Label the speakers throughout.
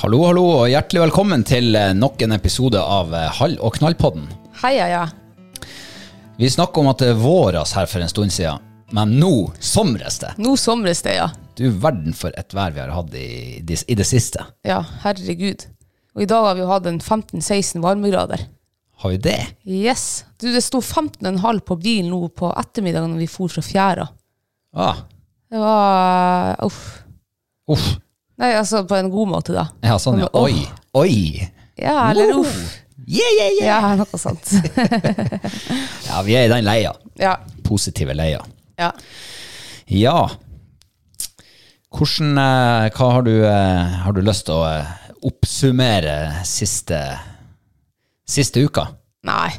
Speaker 1: Hallo, hallo, og hjertelig velkommen til eh, nok en episode av eh, Hall og knall-podden.
Speaker 2: Heia, ja.
Speaker 1: Vi snakka om at det er våras her for en stund siden, men nå somres det.
Speaker 2: Nå somres det, ja.
Speaker 1: Du verden for et vær vi har hatt i, dis- i det siste.
Speaker 2: Ja, herregud. Og i dag har vi jo hatt en 15-16 varmegrader.
Speaker 1: Har vi det?
Speaker 2: Yes. Du, det sto 15,5 på bilen nå på ettermiddagen når vi for fra fjæra.
Speaker 1: Ah,
Speaker 2: Det var uh, Uff.
Speaker 1: uff.
Speaker 2: Nei, altså på en god måte, da.
Speaker 1: Ja, sånn, ja.
Speaker 2: Men, åh.
Speaker 1: Oi, oi.
Speaker 2: Ja, eller uff.
Speaker 1: Yeah, yeah, yeah.
Speaker 2: Ja, noe sånt.
Speaker 1: Ja, vi er i den leia.
Speaker 2: Ja.
Speaker 1: Positive leia.
Speaker 2: ja.
Speaker 1: Ja. Hvordan, eh, hva har du, eh, har du lyst til å eh, oppsummere siste, siste uka?
Speaker 2: Nei.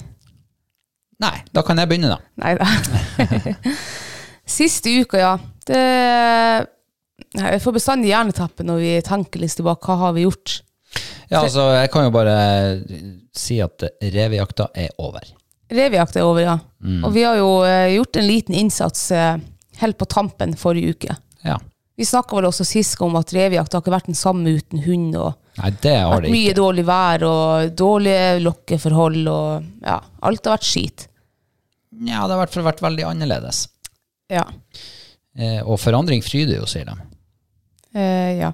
Speaker 1: Nei, da kan jeg begynne, da.
Speaker 2: Nei da. Siste uka, ja. Det Nei, Jeg får bestandig jernetappe når vi tenker litt tilbake. Hva har vi gjort?
Speaker 1: Ja, altså, jeg kan jo bare si at revejakta er over.
Speaker 2: Revejakt er over, ja.
Speaker 1: Mm.
Speaker 2: Og vi har jo eh, gjort en liten innsats eh, helt på tampen forrige uke.
Speaker 1: Ja.
Speaker 2: Vi snakka vel også sist om at revejakt har ikke vært den samme uten hund. og
Speaker 1: Nei, det har
Speaker 2: vært
Speaker 1: det
Speaker 2: Mye
Speaker 1: ikke.
Speaker 2: dårlig vær og dårlige lokkeforhold og ja, alt har vært skit.
Speaker 1: Ja, det har i hvert fall vært veldig annerledes.
Speaker 2: Ja.
Speaker 1: Eh, og forandring fryder jo, sier de.
Speaker 2: Eh, ja.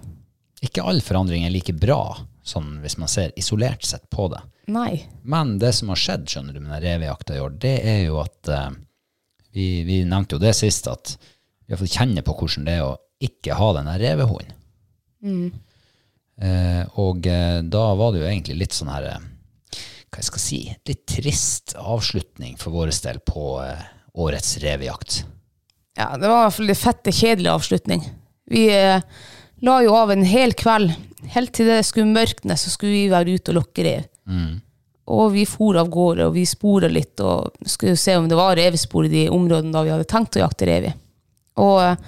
Speaker 1: Ikke all forandring er like bra, sånn hvis man ser isolert sett på det.
Speaker 2: Nei.
Speaker 1: Men det som har skjedd skjønner du, med den revejakta i år, det er jo at eh, vi, vi nevnte jo det sist, at vi har fått kjenne på hvordan det er å ikke ha den der revehunden. Eh, og eh, da var det jo egentlig litt sånn her eh, Hva jeg skal si? Litt trist avslutning for vår del på eh, årets revejakt.
Speaker 2: Ja, det var i hvert fall en fette kjedelig avslutning. Vi eh, la jo av en hel kveld. Helt til det skulle mørkne, så skulle vi være ute og lokke rev. Og vi for av gårde, og vi spora litt, og skulle se om det var revespor i de områdene da vi hadde tenkt å jakte rev i. Og eh,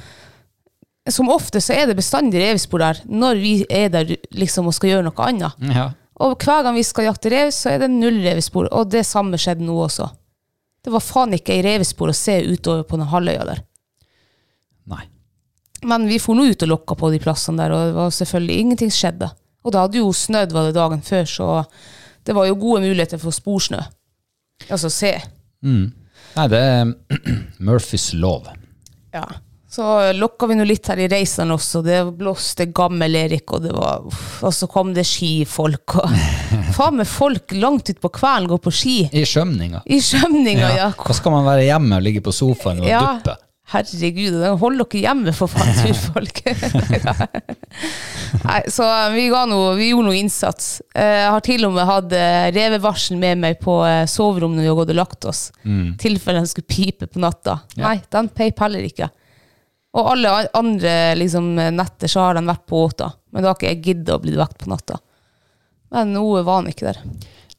Speaker 2: som ofte så er det bestandig revespor der, når vi er der liksom og skal gjøre noe annet.
Speaker 1: Ja.
Speaker 2: Og hver gang vi skal jakte rev, så er det null revespor, og det samme skjedde nå også. Det var faen ikke ei revespor å se utover på den halvøya der.
Speaker 1: Nei.
Speaker 2: Men vi for nå ut og lokka på de plassene der, og det var selvfølgelig ingenting skjedde. Og det hadde jo snødd var det dagen før, så det var jo gode muligheter for sporsnø. Altså se.
Speaker 1: Nei, det er Murphys lov.
Speaker 2: Ja. Så lokka vi nå litt her i Reisan også, det blåste gammel Erik, og det var uff, Og så kom det skifolk, og faen meg folk langt utpå kvelden går på ski.
Speaker 1: I skjømninga.
Speaker 2: I skjømninga, ja.
Speaker 1: Hva skal man være hjemme og ligge på sofaen og duppe?
Speaker 2: Herregud, hold dere hjemme for faen, turfolk. Nei, så vi, ga noe, vi gjorde noe innsats. Eh, Jeg har til og med hatt eh, revevarsel med meg på eh, soverommet når vi har gått og lagt oss. I tilfelle den skulle pipe på natta. Nei, den peip heller ikke. Og alle an- andre liksom, netter så har den vært på åta, men da har ikke jeg giddet å bli vekt på natta. Men nå var den ikke der.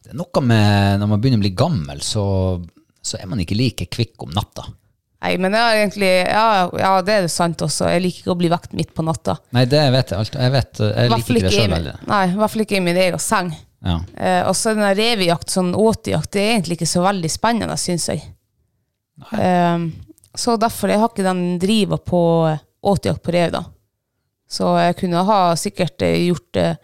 Speaker 1: Det er noe med når man begynner å bli gammel, så, så er man ikke like kvikk om natta.
Speaker 2: Nei, men jeg har egentlig, ja, ja, det er jo sant også. Jeg liker ikke å bli vekt midt på natta.
Speaker 1: Nei, det vet jeg alt. Jeg, vet, jeg liker ikke det
Speaker 2: i
Speaker 1: sjøl
Speaker 2: min,
Speaker 1: heller.
Speaker 2: nei, i hvert fall ikke i min egen seng.
Speaker 1: Ja.
Speaker 2: Eh, og så den der revejakt, sånn åtejakt, det er egentlig ikke så veldig spennende, syns jeg. Eh, så derfor jeg har ikke den driva på åtejakt på rev, da. Så jeg kunne ha sikkert eh, gjort eh,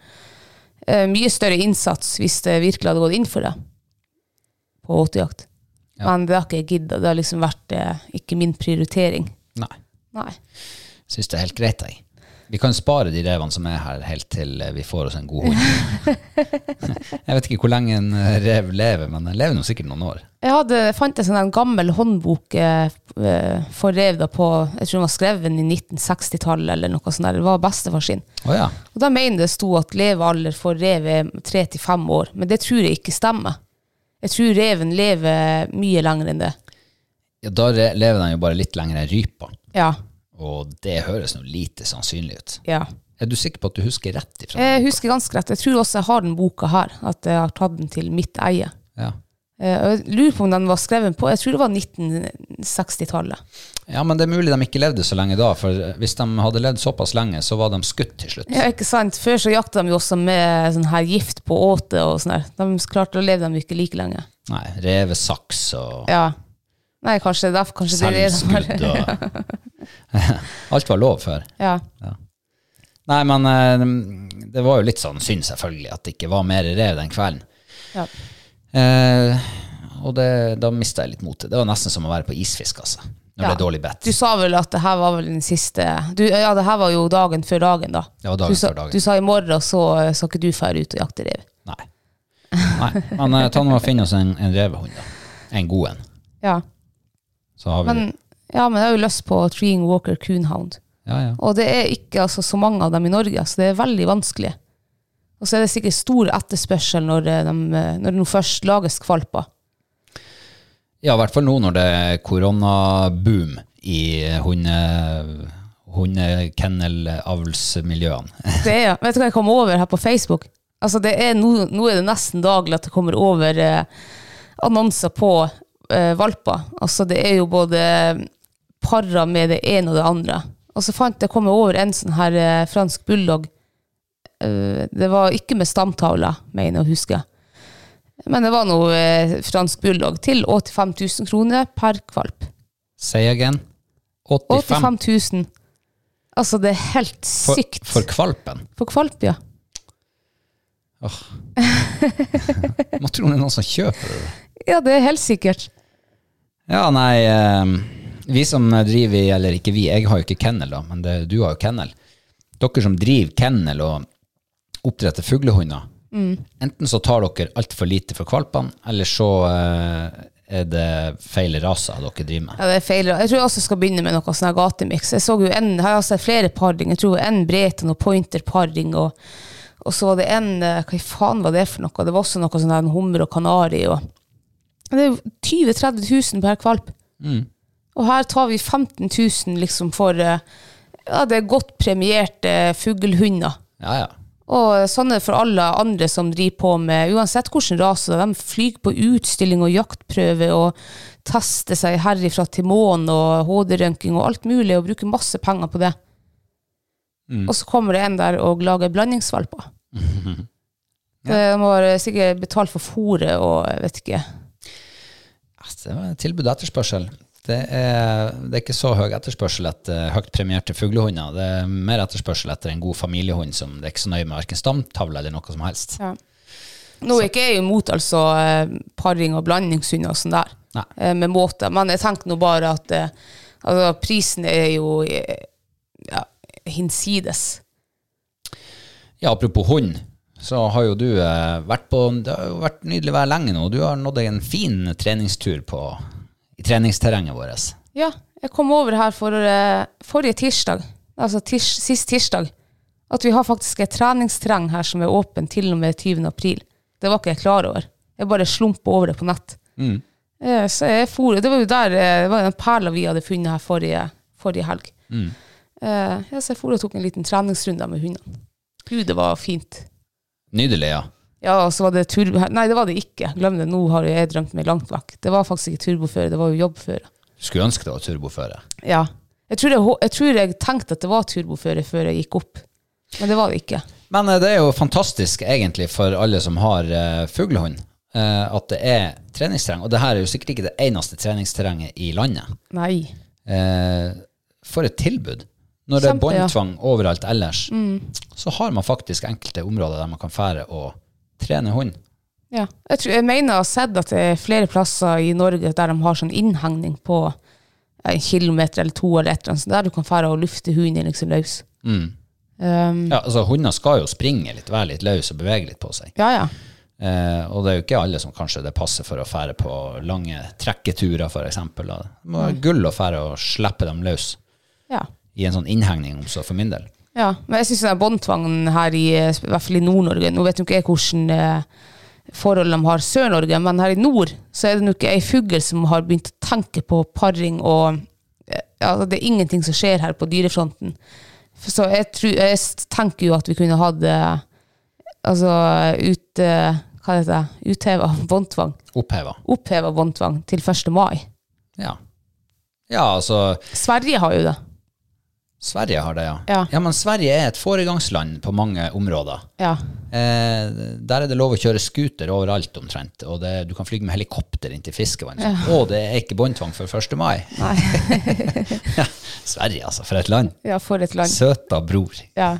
Speaker 2: eh, mye større innsats hvis det virkelig hadde gått inn for det på åtejakt. Men det har ikke jeg gidda. Det har liksom vært eh, ikke min prioritering.
Speaker 1: Nei.
Speaker 2: Nei.
Speaker 1: Syns det er helt greit, jeg. Vi kan spare de revene som er her, helt til eh, vi får oss en god hund. jeg vet ikke hvor lenge en eh, rev lever, men den lever nå sikkert noen år.
Speaker 2: Jeg hadde, jeg fant en sånn der gammel håndbok eh, eh, for rev da på, jeg tror den var skrevet i 1960-tallet eller noe sånt. der. Det var bestefar sin.
Speaker 1: Å ja.
Speaker 2: Og da mener det sto at levealder for rev er tre til fem år, men det tror jeg ikke stemmer. Jeg tror reven lever mye lenger enn det.
Speaker 1: ja. Da re- lever den jo bare litt lenger enn rypa,
Speaker 2: Ja,
Speaker 1: og det høres nå lite sannsynlig ut.
Speaker 2: ja.
Speaker 1: Er du sikker på at du husker rett ifra?
Speaker 2: Jeg husker ganske rett. Jeg tror også jeg har den boka her, at jeg har tatt den til mitt eie.
Speaker 1: Ja.
Speaker 2: Eh, og Jeg lurer på om den var skrevet på, jeg tror det var 1960-tallet.
Speaker 1: ja, men det er mulig de ikke levde så lenge da, for hvis de hadde levd såpass lenge, så var de skutt til slutt.
Speaker 2: Ja, ikke sant? Før så jakta de jo også med sånn her gift på åte og sånn der. De klarte å leve dem ikke like lenge.
Speaker 1: Nei, revesaks og
Speaker 2: Ja. Nei, kanskje derfor kanskje det er det som er
Speaker 1: selvskudd og Alt var lov før.
Speaker 2: ja.
Speaker 1: Nei, men eh, det var jo litt sånn synd selvfølgelig at det ikke var mer rev den kvelden.
Speaker 2: Ja.
Speaker 1: Eh, og det, da mista jeg litt motet. Det var nesten som å være på isfisk, altså. Når det
Speaker 2: Ja.
Speaker 1: er dårlig bedt.
Speaker 2: Du sa vel at det her var vel den siste du, Ja, det her var jo dagen før dagen, da.
Speaker 1: Det var dagen
Speaker 2: du sa,
Speaker 1: før dagen.
Speaker 2: Du sa i morgen så skal ikke du fære ut og jakte rev.
Speaker 1: Nei. Nei. Men eh, ta nå og finn oss en, en revehund, da. En god en.
Speaker 2: Ja.
Speaker 1: Så har vi
Speaker 2: Men, ja, men jeg har jo lyst på Treeing Walker Coonhound.
Speaker 1: Ja, ja.
Speaker 2: Og det er ikke altså, så mange av dem i Norge, så det er veldig vanskelig. Og så er det sikkert stor etterspørsel når, eh, de, eh, når det nå først lages kvalper.
Speaker 1: Ja, i hvert fall nå når det er koronaboom i eh, hunde, hundekennelavlsmiljøene.
Speaker 2: Det er, vet du hva jeg kom over her på Facebook? Altså det er nå, nå er det nesten daglig at det kommer over eh, annonser på eh, valper. Altså det er jo både parer med det ene og det andre. Og så fant jeg kom jeg over en sånn her eh, fransk bulldog. Eh, det var ikke med stamtavla, mener jeg å huske. Men det var noe eh, fransk bulldog til 85 000 kroner per kvalp.
Speaker 1: Say again. 85,
Speaker 2: 85 000. Altså det er helt sykt.
Speaker 1: for, for kvalpen.
Speaker 2: for kvalp, ja.
Speaker 1: Åh. Man tror det er noen som kjøper det.
Speaker 2: Ja, det er helt sikkert.
Speaker 1: Ja, nei eh, Vi som driver i, eller ikke vi, jeg har jo ikke kennel, da, men det, du har jo kennel. Dere som driver kennel og oppdretter fuglehunder,
Speaker 2: Mm.
Speaker 1: enten så tar dere altfor lite for valpene, eller så eh, er det feil raser dere driver med.
Speaker 2: Ja, det er feil. Jeg tror jeg også skal begynne med noe sånn her gatemiks. Jeg så jo en, her har jeg sett flere parring. Jeg tror en Breton og Pointer parring, og, og så var det en eh, Hva i faen var det for noe? Det var også noe sånn her en hummer og kanari. Og, det er jo 20 000-30 000 per kvalp. Og her tar vi 15 000 liksom for eh, ja, det er godt premierte fuglehunder.
Speaker 1: Ja, ja.
Speaker 2: Og sånn er det for alle andre som driver på med Uansett hvilken rase, de flyr på utstilling og jaktprøver og tester seg herifra til månen og HD-røntgen og alt mulig, og bruker masse penger på det. Og så kommer det en der og lager blandingsvalper. De har sikkert betalt for fôret og jeg vet ikke.
Speaker 1: Altså, Det var tilbud og etterspørsel. Det er, det er ikke så høy etterspørsel etter høyt premierte fuglehunder. Det er mer etterspørsel etter en god familiehund som det er ikke så nøye med verken stamtavle eller noe som helst.
Speaker 2: Nå er ikke jeg imot altså eh, paring og blandingshunder og sånn der,
Speaker 1: Nei.
Speaker 2: eh, med måter, men jeg tenker nå bare at eh, altså, prisen er jo eh, ja, hinsides.
Speaker 1: Ja, apropos hund, så har jo du eh, vært på Det har jo vært nydelig vær lenge nå. Du har nådd deg en fin treningstur på, i treningsterrenget vårt.
Speaker 2: Ja, jeg Jeg kom over her for, eh, forrige tirsdag, altså tirs, sist tirsdag, at vi har faktisk et treningsterreng her som er åpen til og med 20. april. Det var ikke jeg klar over. Jeg bare slumpa over det på nett. Eh, Så jeg for, det var jo der, eh, det var den perla vi hadde funnet her forrige, forrige helg. Eh, ja, så jeg for og tok en liten treningsrunde med hundene. Gud, det var fint.
Speaker 1: Nydelig, ja.
Speaker 2: Ja, og så var det turbo... Nei, det var det ikke. Glem det, nå har jeg drømt meg langt vekk. Det var faktisk ikke turboføre, det var jo jobbføre.
Speaker 1: Skulle ønske det var turboføre.
Speaker 2: Ja. Jeg tror jeg, hå- jeg tror jeg tenkte at det var turboføre før jeg gikk opp, men det var det ikke.
Speaker 1: Men eh, det er jo fantastisk egentlig for alle som har uh, fuglehund, eh, at det er treningsterreng. Og det her er jo sikkert ikke det eneste treningsterrenget i landet.
Speaker 2: Nei.
Speaker 1: Eh, for et tilbud. Når det er
Speaker 2: Kjempe, ja. Mm.
Speaker 1: båndtvang overalt ellers, så har man faktisk enkelte områder der man kan fære og trene hund.
Speaker 2: Ja. Jeg, tror, jeg mener jeg har sett at det er flere plasser i Norge der de har sånn innhegning på en kilometer eller to eller et eller annet, så der du kan fære og lufte hunden liksom løs. Um,
Speaker 1: Ja, altså Hunder skal jo springe litt, være litt løs og bevege litt på seg.
Speaker 2: ja, ja.
Speaker 1: Eh, og det er jo ikke alle som kanskje det passer for å fære på lange trekketurer, f.eks. Det må være gull å fære og slippe dem løs
Speaker 2: Ja.
Speaker 1: i en sånn innhegning, om så for min del.
Speaker 2: Ja, men jeg syns båndtvangen her, i, eh, i hvert fall i Nord-Norge Nå vet jo ikke jeg hvordan eh, forhold de har i Sør-Norge, men her i nord så er det nok ei fugl som har begynt å tenke på paring, og eh, ja, det er ingenting som skjer her på dyrefronten. For- Så jeg, tror, jeg s- tenker jo at vi kunne hatt eh, altså ut, eh, hva heter det, utheva båndtvang,
Speaker 1: Oppheva.
Speaker 2: oppheva båndtvang til 1. mai.
Speaker 1: Ja. ja, altså
Speaker 2: Sverige har jo det.
Speaker 1: Sverige har det, ja.
Speaker 2: Ja.
Speaker 1: men Sverige er et foregangsland på mange områder.
Speaker 2: Ja.
Speaker 1: Eh, der er det lov å kjøre scooter overalt omtrent, og det, du kan flyge med helikopter inn til fiskevann. Og det er ikke båndtvang før 1. mai. Sverige, altså, for et land.
Speaker 2: ja, for et land.
Speaker 1: Søta bror.
Speaker 2: Ja.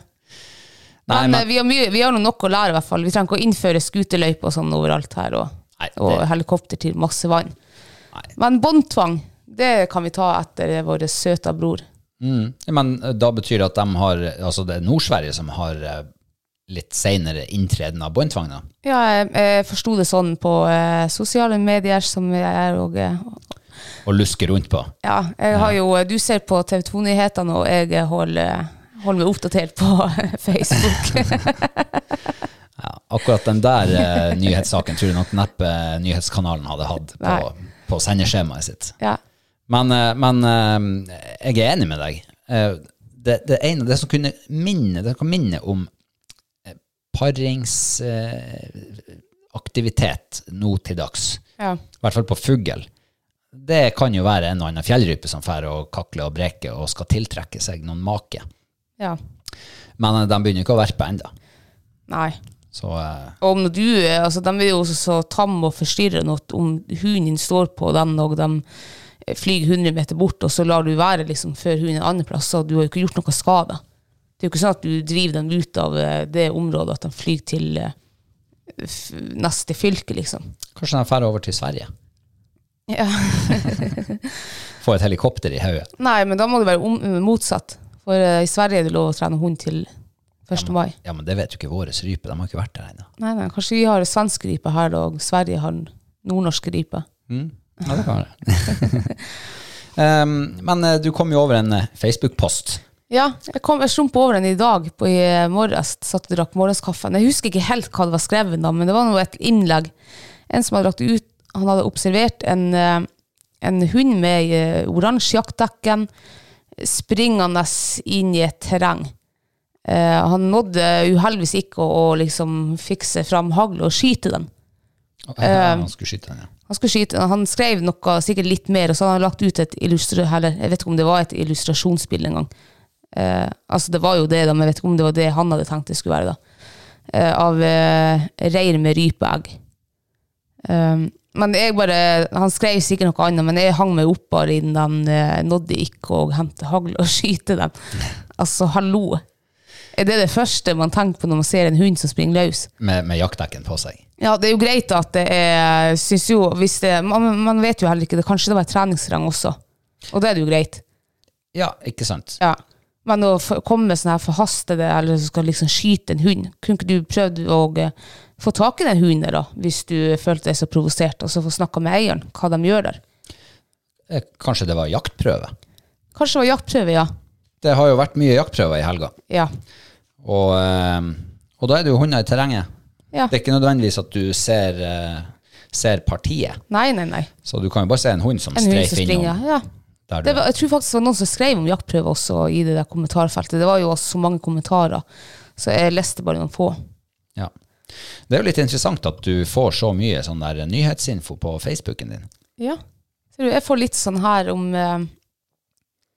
Speaker 1: Nei,
Speaker 2: men,
Speaker 1: men-
Speaker 2: eh, vi har, mye, vi har nå nok å lære, i hvert fall. Vi trenger ikke å innføre skuterløyper og sånn overalt her, og,
Speaker 1: Nei, det-
Speaker 2: og helikopter til masse vann.
Speaker 1: Nei.
Speaker 2: Men båndtvang, det kan vi ta etter vår søta bror.
Speaker 1: Mm. Men eh, da betyr det at de har, altså det er Nord-Sverige som har eh, litt senere inntreden av båndtvang, da.
Speaker 2: Ja, jeg, jeg forsto det sånn på eh, sosiale medier som jeg er og eh,
Speaker 1: Og lusker rundt på.
Speaker 2: Ja, jeg har jo eh, Du ser på TV 2-nyhetene, og jeg eh, holder, holder meg oppdatert på Facebook.
Speaker 1: Akkurat den der eh, nyhetssaken tror jeg nok neppe nyhetskanalen hadde hatt på,
Speaker 2: Nei.
Speaker 1: på sendeskjemaet sitt.
Speaker 2: ja.
Speaker 1: Men, eh, men eh, jeg er enig med deg. Eh, Det, det ene det som kunne minne, det kan minne om eh, paringsaktivitet nå til dags,
Speaker 2: ja.
Speaker 1: i hvert fall på fugl, det kan jo være en og annen fjellrype som drar og kakler og breker og skal tiltrekke seg noen make.
Speaker 2: Ja.
Speaker 1: Men eh, de begynner ikke å verpe ennå.
Speaker 2: Nei.
Speaker 1: Så eh,
Speaker 2: Og om du, er- altså, de er jo også så tamme og forstyrrende at om hunden din står på den, og de flyr 100 meter bort, og så lar du være liksom, før hunden er en annen plass, så du har jo ikke gjort noe skade. Det er jo ikke sånn at du driver dem ut av eh, det området, at de flyr til eh, f neste fylke, liksom.
Speaker 1: kanskje de drar over til Sverige.
Speaker 2: Ja.
Speaker 1: Får et helikopter i hodet.
Speaker 2: Nei, men da må det være om, motsatt. For eh, i Sverige er det lov å trene hund til 1. mai.
Speaker 1: Ja, men det vet jo ikke våre rype. De har ikke vært der ennå.
Speaker 2: Nei, nei, kanskje vi har svensk rype her, da, og Sverige har nordnorsk rype.
Speaker 1: Ja, det kan være. um, men eh, du kom jo over en eh, Facebook-post.
Speaker 2: Ja, jeg, kom, jeg slumpa over den i dag på i eh, morges. Satt og drakk morgenskaffen. Jeg husker ikke helt hva det var skrevet, da, men det var noe et innlegg. En som hadde lagt ut Han hadde observert en, eh, en hund med eh, oransje jaktdekken springende inn i et terreng. Eh, han nådde uheldigvis ikke å, å liksom fikse fram hagl og skyte den.
Speaker 1: Eh, Han skulle skyte den, ja.
Speaker 2: Han, skulle skyte, han skrev noe, sikkert litt mer, og så hadde han lagt ut et illustra, eller, jeg vet ikke om det var et illustrasjonsspill engang. Eh, altså det var jo det, da, men jeg vet ikke om det var det han hadde tenkt det skulle være. da. Eh, av eh, reir med rypeegg. Um, men jeg bare, Han skrev sikkert noe annet, men jeg hang meg opp bare i den eh, nådde ikke å hente hagl og skyte den. Altså, hallo. Er det det første man tenker på når man ser en hund som springer løs?
Speaker 1: Med, med jaktdekken på seg.
Speaker 2: Ja, det er jo greit at det er synes jo, hvis det, man, man vet jo heller ikke det. Kanskje det var et treningsterreng også. Og det er det jo greit.
Speaker 1: Ja, ikke sant?
Speaker 2: Ja. Men å f- komme med sånne her forhastede, eller som skal liksom skyte en hund Kunne ikke du prøvd å eh, få tak i den hunden der, da, hvis du følte deg så provosert, og så få snakka med eieren hva de gjør der?
Speaker 1: Eh, Kanskje det var jaktprøve?
Speaker 2: Kanskje det var jaktprøve, ja.
Speaker 1: Det har jo vært mye jaktprøver i helga,
Speaker 2: Ja.
Speaker 1: og, eh, og da er det jo hunder i terrenget.
Speaker 2: ja.
Speaker 1: Det er ikke nødvendigvis at du ser, eh, ser partiet,
Speaker 2: Nei, nei, nei.
Speaker 1: så du kan jo bare se en hund som
Speaker 2: En hund som
Speaker 1: streifer
Speaker 2: springer.
Speaker 1: innom.
Speaker 2: Ja.
Speaker 1: Der du
Speaker 2: Det
Speaker 1: er.
Speaker 2: var, jeg tror faktisk det var noen som skrev om jaktprøve også i det der kommentarfeltet. Det var jo så mange kommentarer, så jeg leste bare noen få.
Speaker 1: Ja. Det er jo litt interessant at du får så mye sånn der nyhetsinfo på Facebooken din.
Speaker 2: Ja. Ser du, jeg får litt sånn her om eh,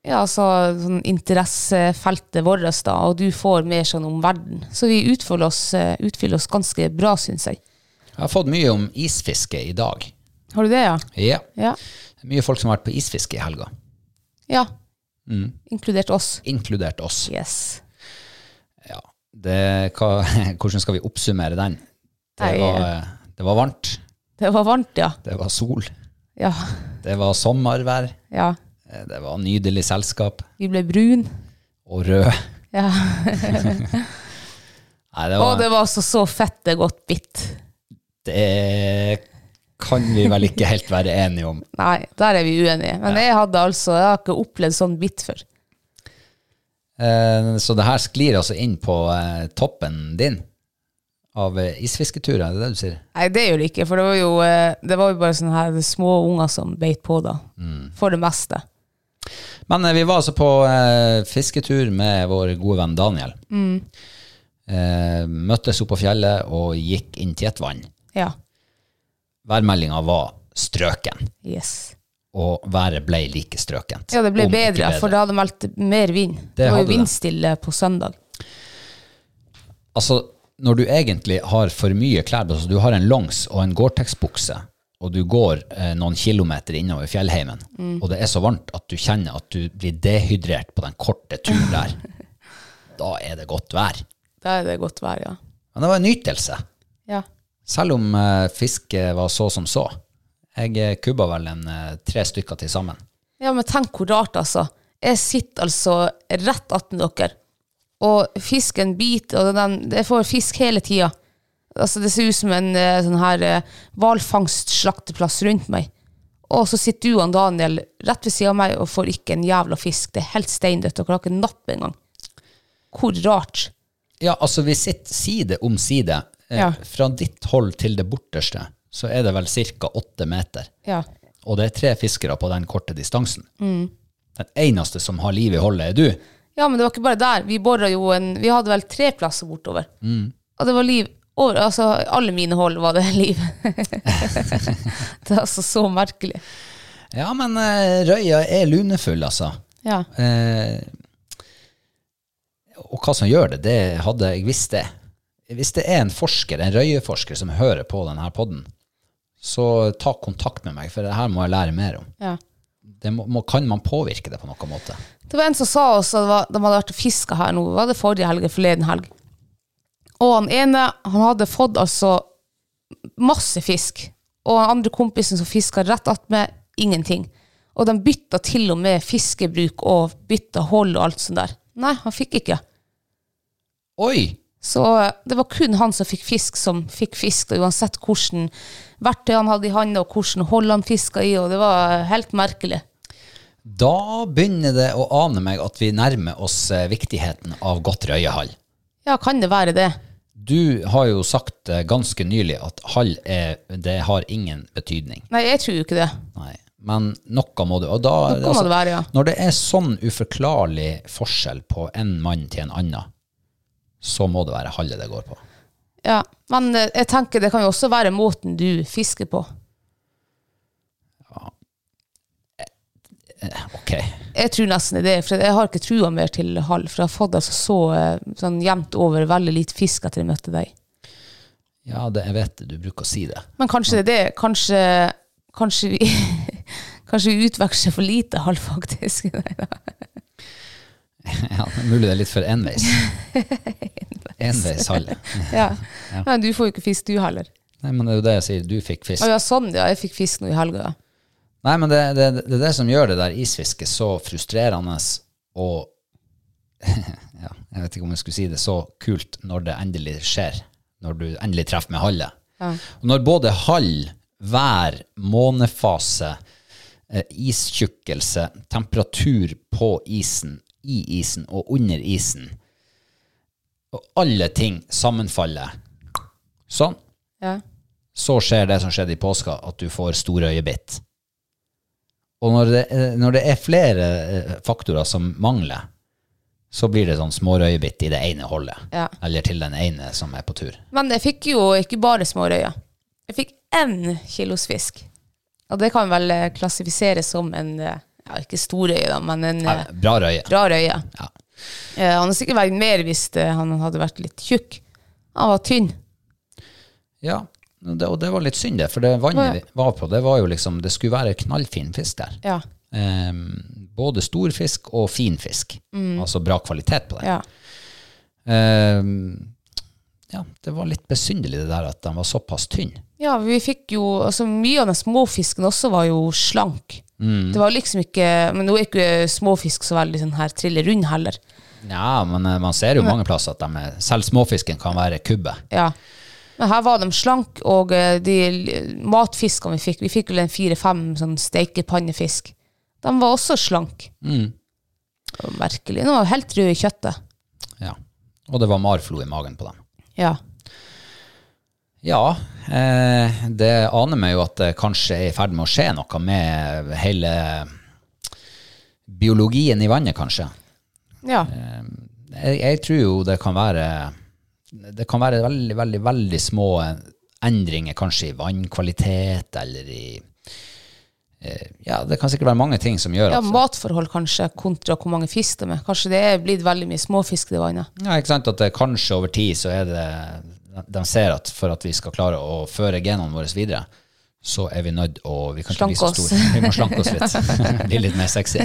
Speaker 2: ja, altså, sånn interessefeltet vårt, da, og du får mer sånn om verden. Så vi utfolder oss, eh, utfyller oss ganske bra, syns jeg.
Speaker 1: Jeg har fått mye om isfiske i dag.
Speaker 2: Har du det, ja?
Speaker 1: Ja.
Speaker 2: Ja.
Speaker 1: Mye folk som har vært på isfiske i helga,
Speaker 2: ja.
Speaker 1: Mm.
Speaker 2: Inkludert oss.
Speaker 1: inkludert oss.
Speaker 2: Yes.
Speaker 1: Ja. Det, hva, hvordan skal vi oppsummere den? Det
Speaker 2: Nei,
Speaker 1: var, eh, det var varmt,
Speaker 2: Det var varmt, ja.
Speaker 1: det var sol,
Speaker 2: Ja.
Speaker 1: det var sommervær,
Speaker 2: ja.
Speaker 1: eh, det var nydelig selskap
Speaker 2: Vi ble brun.
Speaker 1: og rød.
Speaker 2: Ja.
Speaker 1: Nei, det,
Speaker 2: Og
Speaker 1: var,
Speaker 2: det var altså så fette godt bitt.
Speaker 1: det kan vi vel ikke helt være enige om.
Speaker 2: Nei, der er vi uenige. Men jeg hadde altså, jeg har ikke opplevd sånn bitt før.
Speaker 1: Eh, Så det her sklir altså inn på eh, toppen din av eh, isfisketurer, er det det du sier?
Speaker 2: Nei, det gjør det ikke, for det var jo, eh, det var jo bare sånne her små unger som beit på da.
Speaker 1: Mm.
Speaker 2: For det meste.
Speaker 1: Men eh, vi var altså på eh, fisketur med vår gode venn Daniel.
Speaker 2: Mm.
Speaker 1: Eh, møttes opp på fjellet og gikk inn til et vann.
Speaker 2: Ja.
Speaker 1: Værmeldinga var strøken,
Speaker 2: Yes.
Speaker 1: og været ble like strøkent.
Speaker 2: Ja, det ble
Speaker 1: Om ikke
Speaker 2: bedre, for det hadde meldt mer vind. Det, var
Speaker 1: hadde
Speaker 2: jo
Speaker 1: det.
Speaker 2: vindstille på søndag.
Speaker 1: Altså, når du egentlig har for mye klær på, så du har en longs og en Gore-Tex-bukse, og du går eh, noen kilometer innover fjellheimen, og det er så varmt at du kjenner at du blir dehydrert på den korte turen der, da er det godt vær.
Speaker 2: Da er det godt vær, ja.
Speaker 1: Men det var en nytelse,
Speaker 2: Ja.
Speaker 1: selv om eh, fisket var så som så. Jeg eh, kubba vel en eh, tre stykker til sammen.
Speaker 2: Ja, men tenk hvor rart, altså. Jeg sitter altså rett attmed dere, og fisken biter, og den, jeg får fisk hele tida. Altså, det ser ut som en eh, sånn her eh, hvalfangstslakteplass rundt meg. Og så sitter du og han Daniel rett ved sida av meg og får ikke en jævla fisk. Det er helt steindødt. Dere har ikke napp engang. Hvor rart.
Speaker 1: Ja, altså vi sitter side om side. Eh,
Speaker 2: Ja.
Speaker 1: Fra ditt hold til det borteste, så er det vel ca. åtte meter.
Speaker 2: Ja.
Speaker 1: Og det er tre fiskere på den korte distansen. Den eneste som har liv i holdet, er du.
Speaker 2: ja, men det var ikke bare der. Vi bora jo en Vi hadde vel tre plasser bortover. Og det var liv over Altså, alle mine hold var det liv. det er altså så merkelig.
Speaker 1: Ja, men eh, røya er lunefull, altså.
Speaker 2: Ja.
Speaker 1: Eh, og hva som gjør det, det hadde jeg visst det. Hvis det er en forsker, en røyeforsker som hører på denne podden, så ta kontakt med meg, for det her må jeg lære mer om.
Speaker 2: ja.
Speaker 1: Det må, må, kan man påvirke det på noen måte?
Speaker 2: Det var en som sa oss at det var- de hadde vært og fiska her nå. Var det forrige helg? eller Forleden helg. Og han ene, han hadde fått altså masse fisk. Og den andre kompisen som fiska rett attmed, ingenting. Og de bytta til og med fiskebruk og bytta hold og alt sånt der. Nei, han fikk ikke.
Speaker 1: Oi!
Speaker 2: Så eh, det var kun han som fikk fisk, som fikk fisk, og uansett hvordan verktøy han hadde i handa, og hvordan hold han fiska i, og det var helt merkelig.
Speaker 1: Da begynner det å ane meg at vi nærmer oss eh, viktigheten av godt røyehall.
Speaker 2: Ja, kan det være det?
Speaker 1: Du har jo sagt eh, ganske nylig at hall er, det har ingen betydning.
Speaker 2: Nei, jeg tror jo ikke det.
Speaker 1: Nei. Men noe må du og da, altså,
Speaker 2: Noe må det være, ja.
Speaker 1: Når det er sånn uforklarlig forskjell på en mann til en annen, så må det være hallet det går på.
Speaker 2: Ja, Men eh, jeg tenker det kan jo også være måten du fisker på.
Speaker 1: Ok.
Speaker 2: Jeg tror nesten det, er det, for jeg har ikke trua mer til hall, for jeg har fått altså så eh, sånn jevnt over veldig lite fisk etter jeg møtte deg.
Speaker 1: Ja, det, jeg vet du bruker å si det.
Speaker 2: Men kanskje det er det. Kanskje, kanskje vi Kanskje vi utveksler for lite hall, faktisk.
Speaker 1: Ja, det er mulig det er litt for enveis. Enveis hall.
Speaker 2: ja. Men du får jo ikke fisk, du heller.
Speaker 1: Nei, men det er jo det jeg sier. Du fikk fisk.
Speaker 2: Å ja, sånn, ja. Jeg fikk fisk nå i helga. ja.
Speaker 1: Nei, men det, det, det er det som gjør det der isfisket så frustrerende og ja, Jeg vet ikke om jeg skulle si det så kult når det endelig skjer. Når du endelig treffer med hallet. Og når både hall, vær, månefase, eh, istjukkelse, temperatur på isen, i isen og under isen. Og alle ting sammenfaller. Sånn.
Speaker 2: Ja.
Speaker 1: Så skjer det som skjedde i påska, at du får store øyebitt. Og når det, eh, når det er flere eh, faktorer som mangler, så blir det sånn smårøyebitt i det ene holdet.
Speaker 2: Ja.
Speaker 1: Eller til den ene som er på tur.
Speaker 2: Men jeg fikk jo ikke bare smårøyer. Jeg fikk én kilos fisk. Og det kan vel eh, klassifiseres som en eh, ja, ikke storøye, da, men en eh,
Speaker 1: Nei, Bra røye.
Speaker 2: bra røye.
Speaker 1: Ja.
Speaker 2: Eh, Han hadde sikkert veid mer hvis eh, han hadde vært litt tjukk. Han var tynn.
Speaker 1: Ja, og det, og det var litt synd, det. For det vannet vi var på, det var jo liksom Det skulle være knallfin fisk der.
Speaker 2: Ja.
Speaker 1: Ehm, både stor fisk og fin fisk. Altså bra kvalitet på det.
Speaker 2: Mm. ja.
Speaker 1: Ehm, ja, det var litt besynderlig det der at den var såpass tynn.
Speaker 2: Ja, vi fikk jo altså Mye av den småfisken også var jo slank.
Speaker 1: Mm.
Speaker 2: Det var liksom ikke Men nå er ikke småfisk så veldig sånn her trille rund heller.
Speaker 1: Ja, men eh, man ser jo mange plasser at de er, selv småfisken kan være kubbe.
Speaker 2: Ja. Men her var de slank, og eh, de l- matfiskene vi fikk Vi fikk vel en fire-fem sånn steikepannefisk. De var også slank.
Speaker 1: Mm.
Speaker 2: Det var merkelig. De var helt røde i kjøttet.
Speaker 1: Ja. Og det var marflo i magen på dem.
Speaker 2: Ja.
Speaker 1: Ja, eh, det aner meg jo at det kanskje er i ferd med å skje noe med hele biologien i vannet, kanskje.
Speaker 2: ja.
Speaker 1: Jeg, jeg tror jo det kan være Det kan være veldig, veldig, veldig små endringer, kanskje i vannkvalitet eller i eh, Ja, det kan sikkert være mange ting som gjør
Speaker 2: Ja,
Speaker 1: at
Speaker 2: matforhold kanskje, kontra hvor mange fisk de er. Kanskje det er blitt veldig mye småfisk i det vannet.
Speaker 1: Ja, ikke sant? At det, kanskje over tid så er det De ser at for at vi skal klare å føre genene våre videre, så er vi nødt å Vi kan ikke bli så
Speaker 2: Slanke oss.
Speaker 1: store. Vi må slanke oss litt. bli litt mer sexy.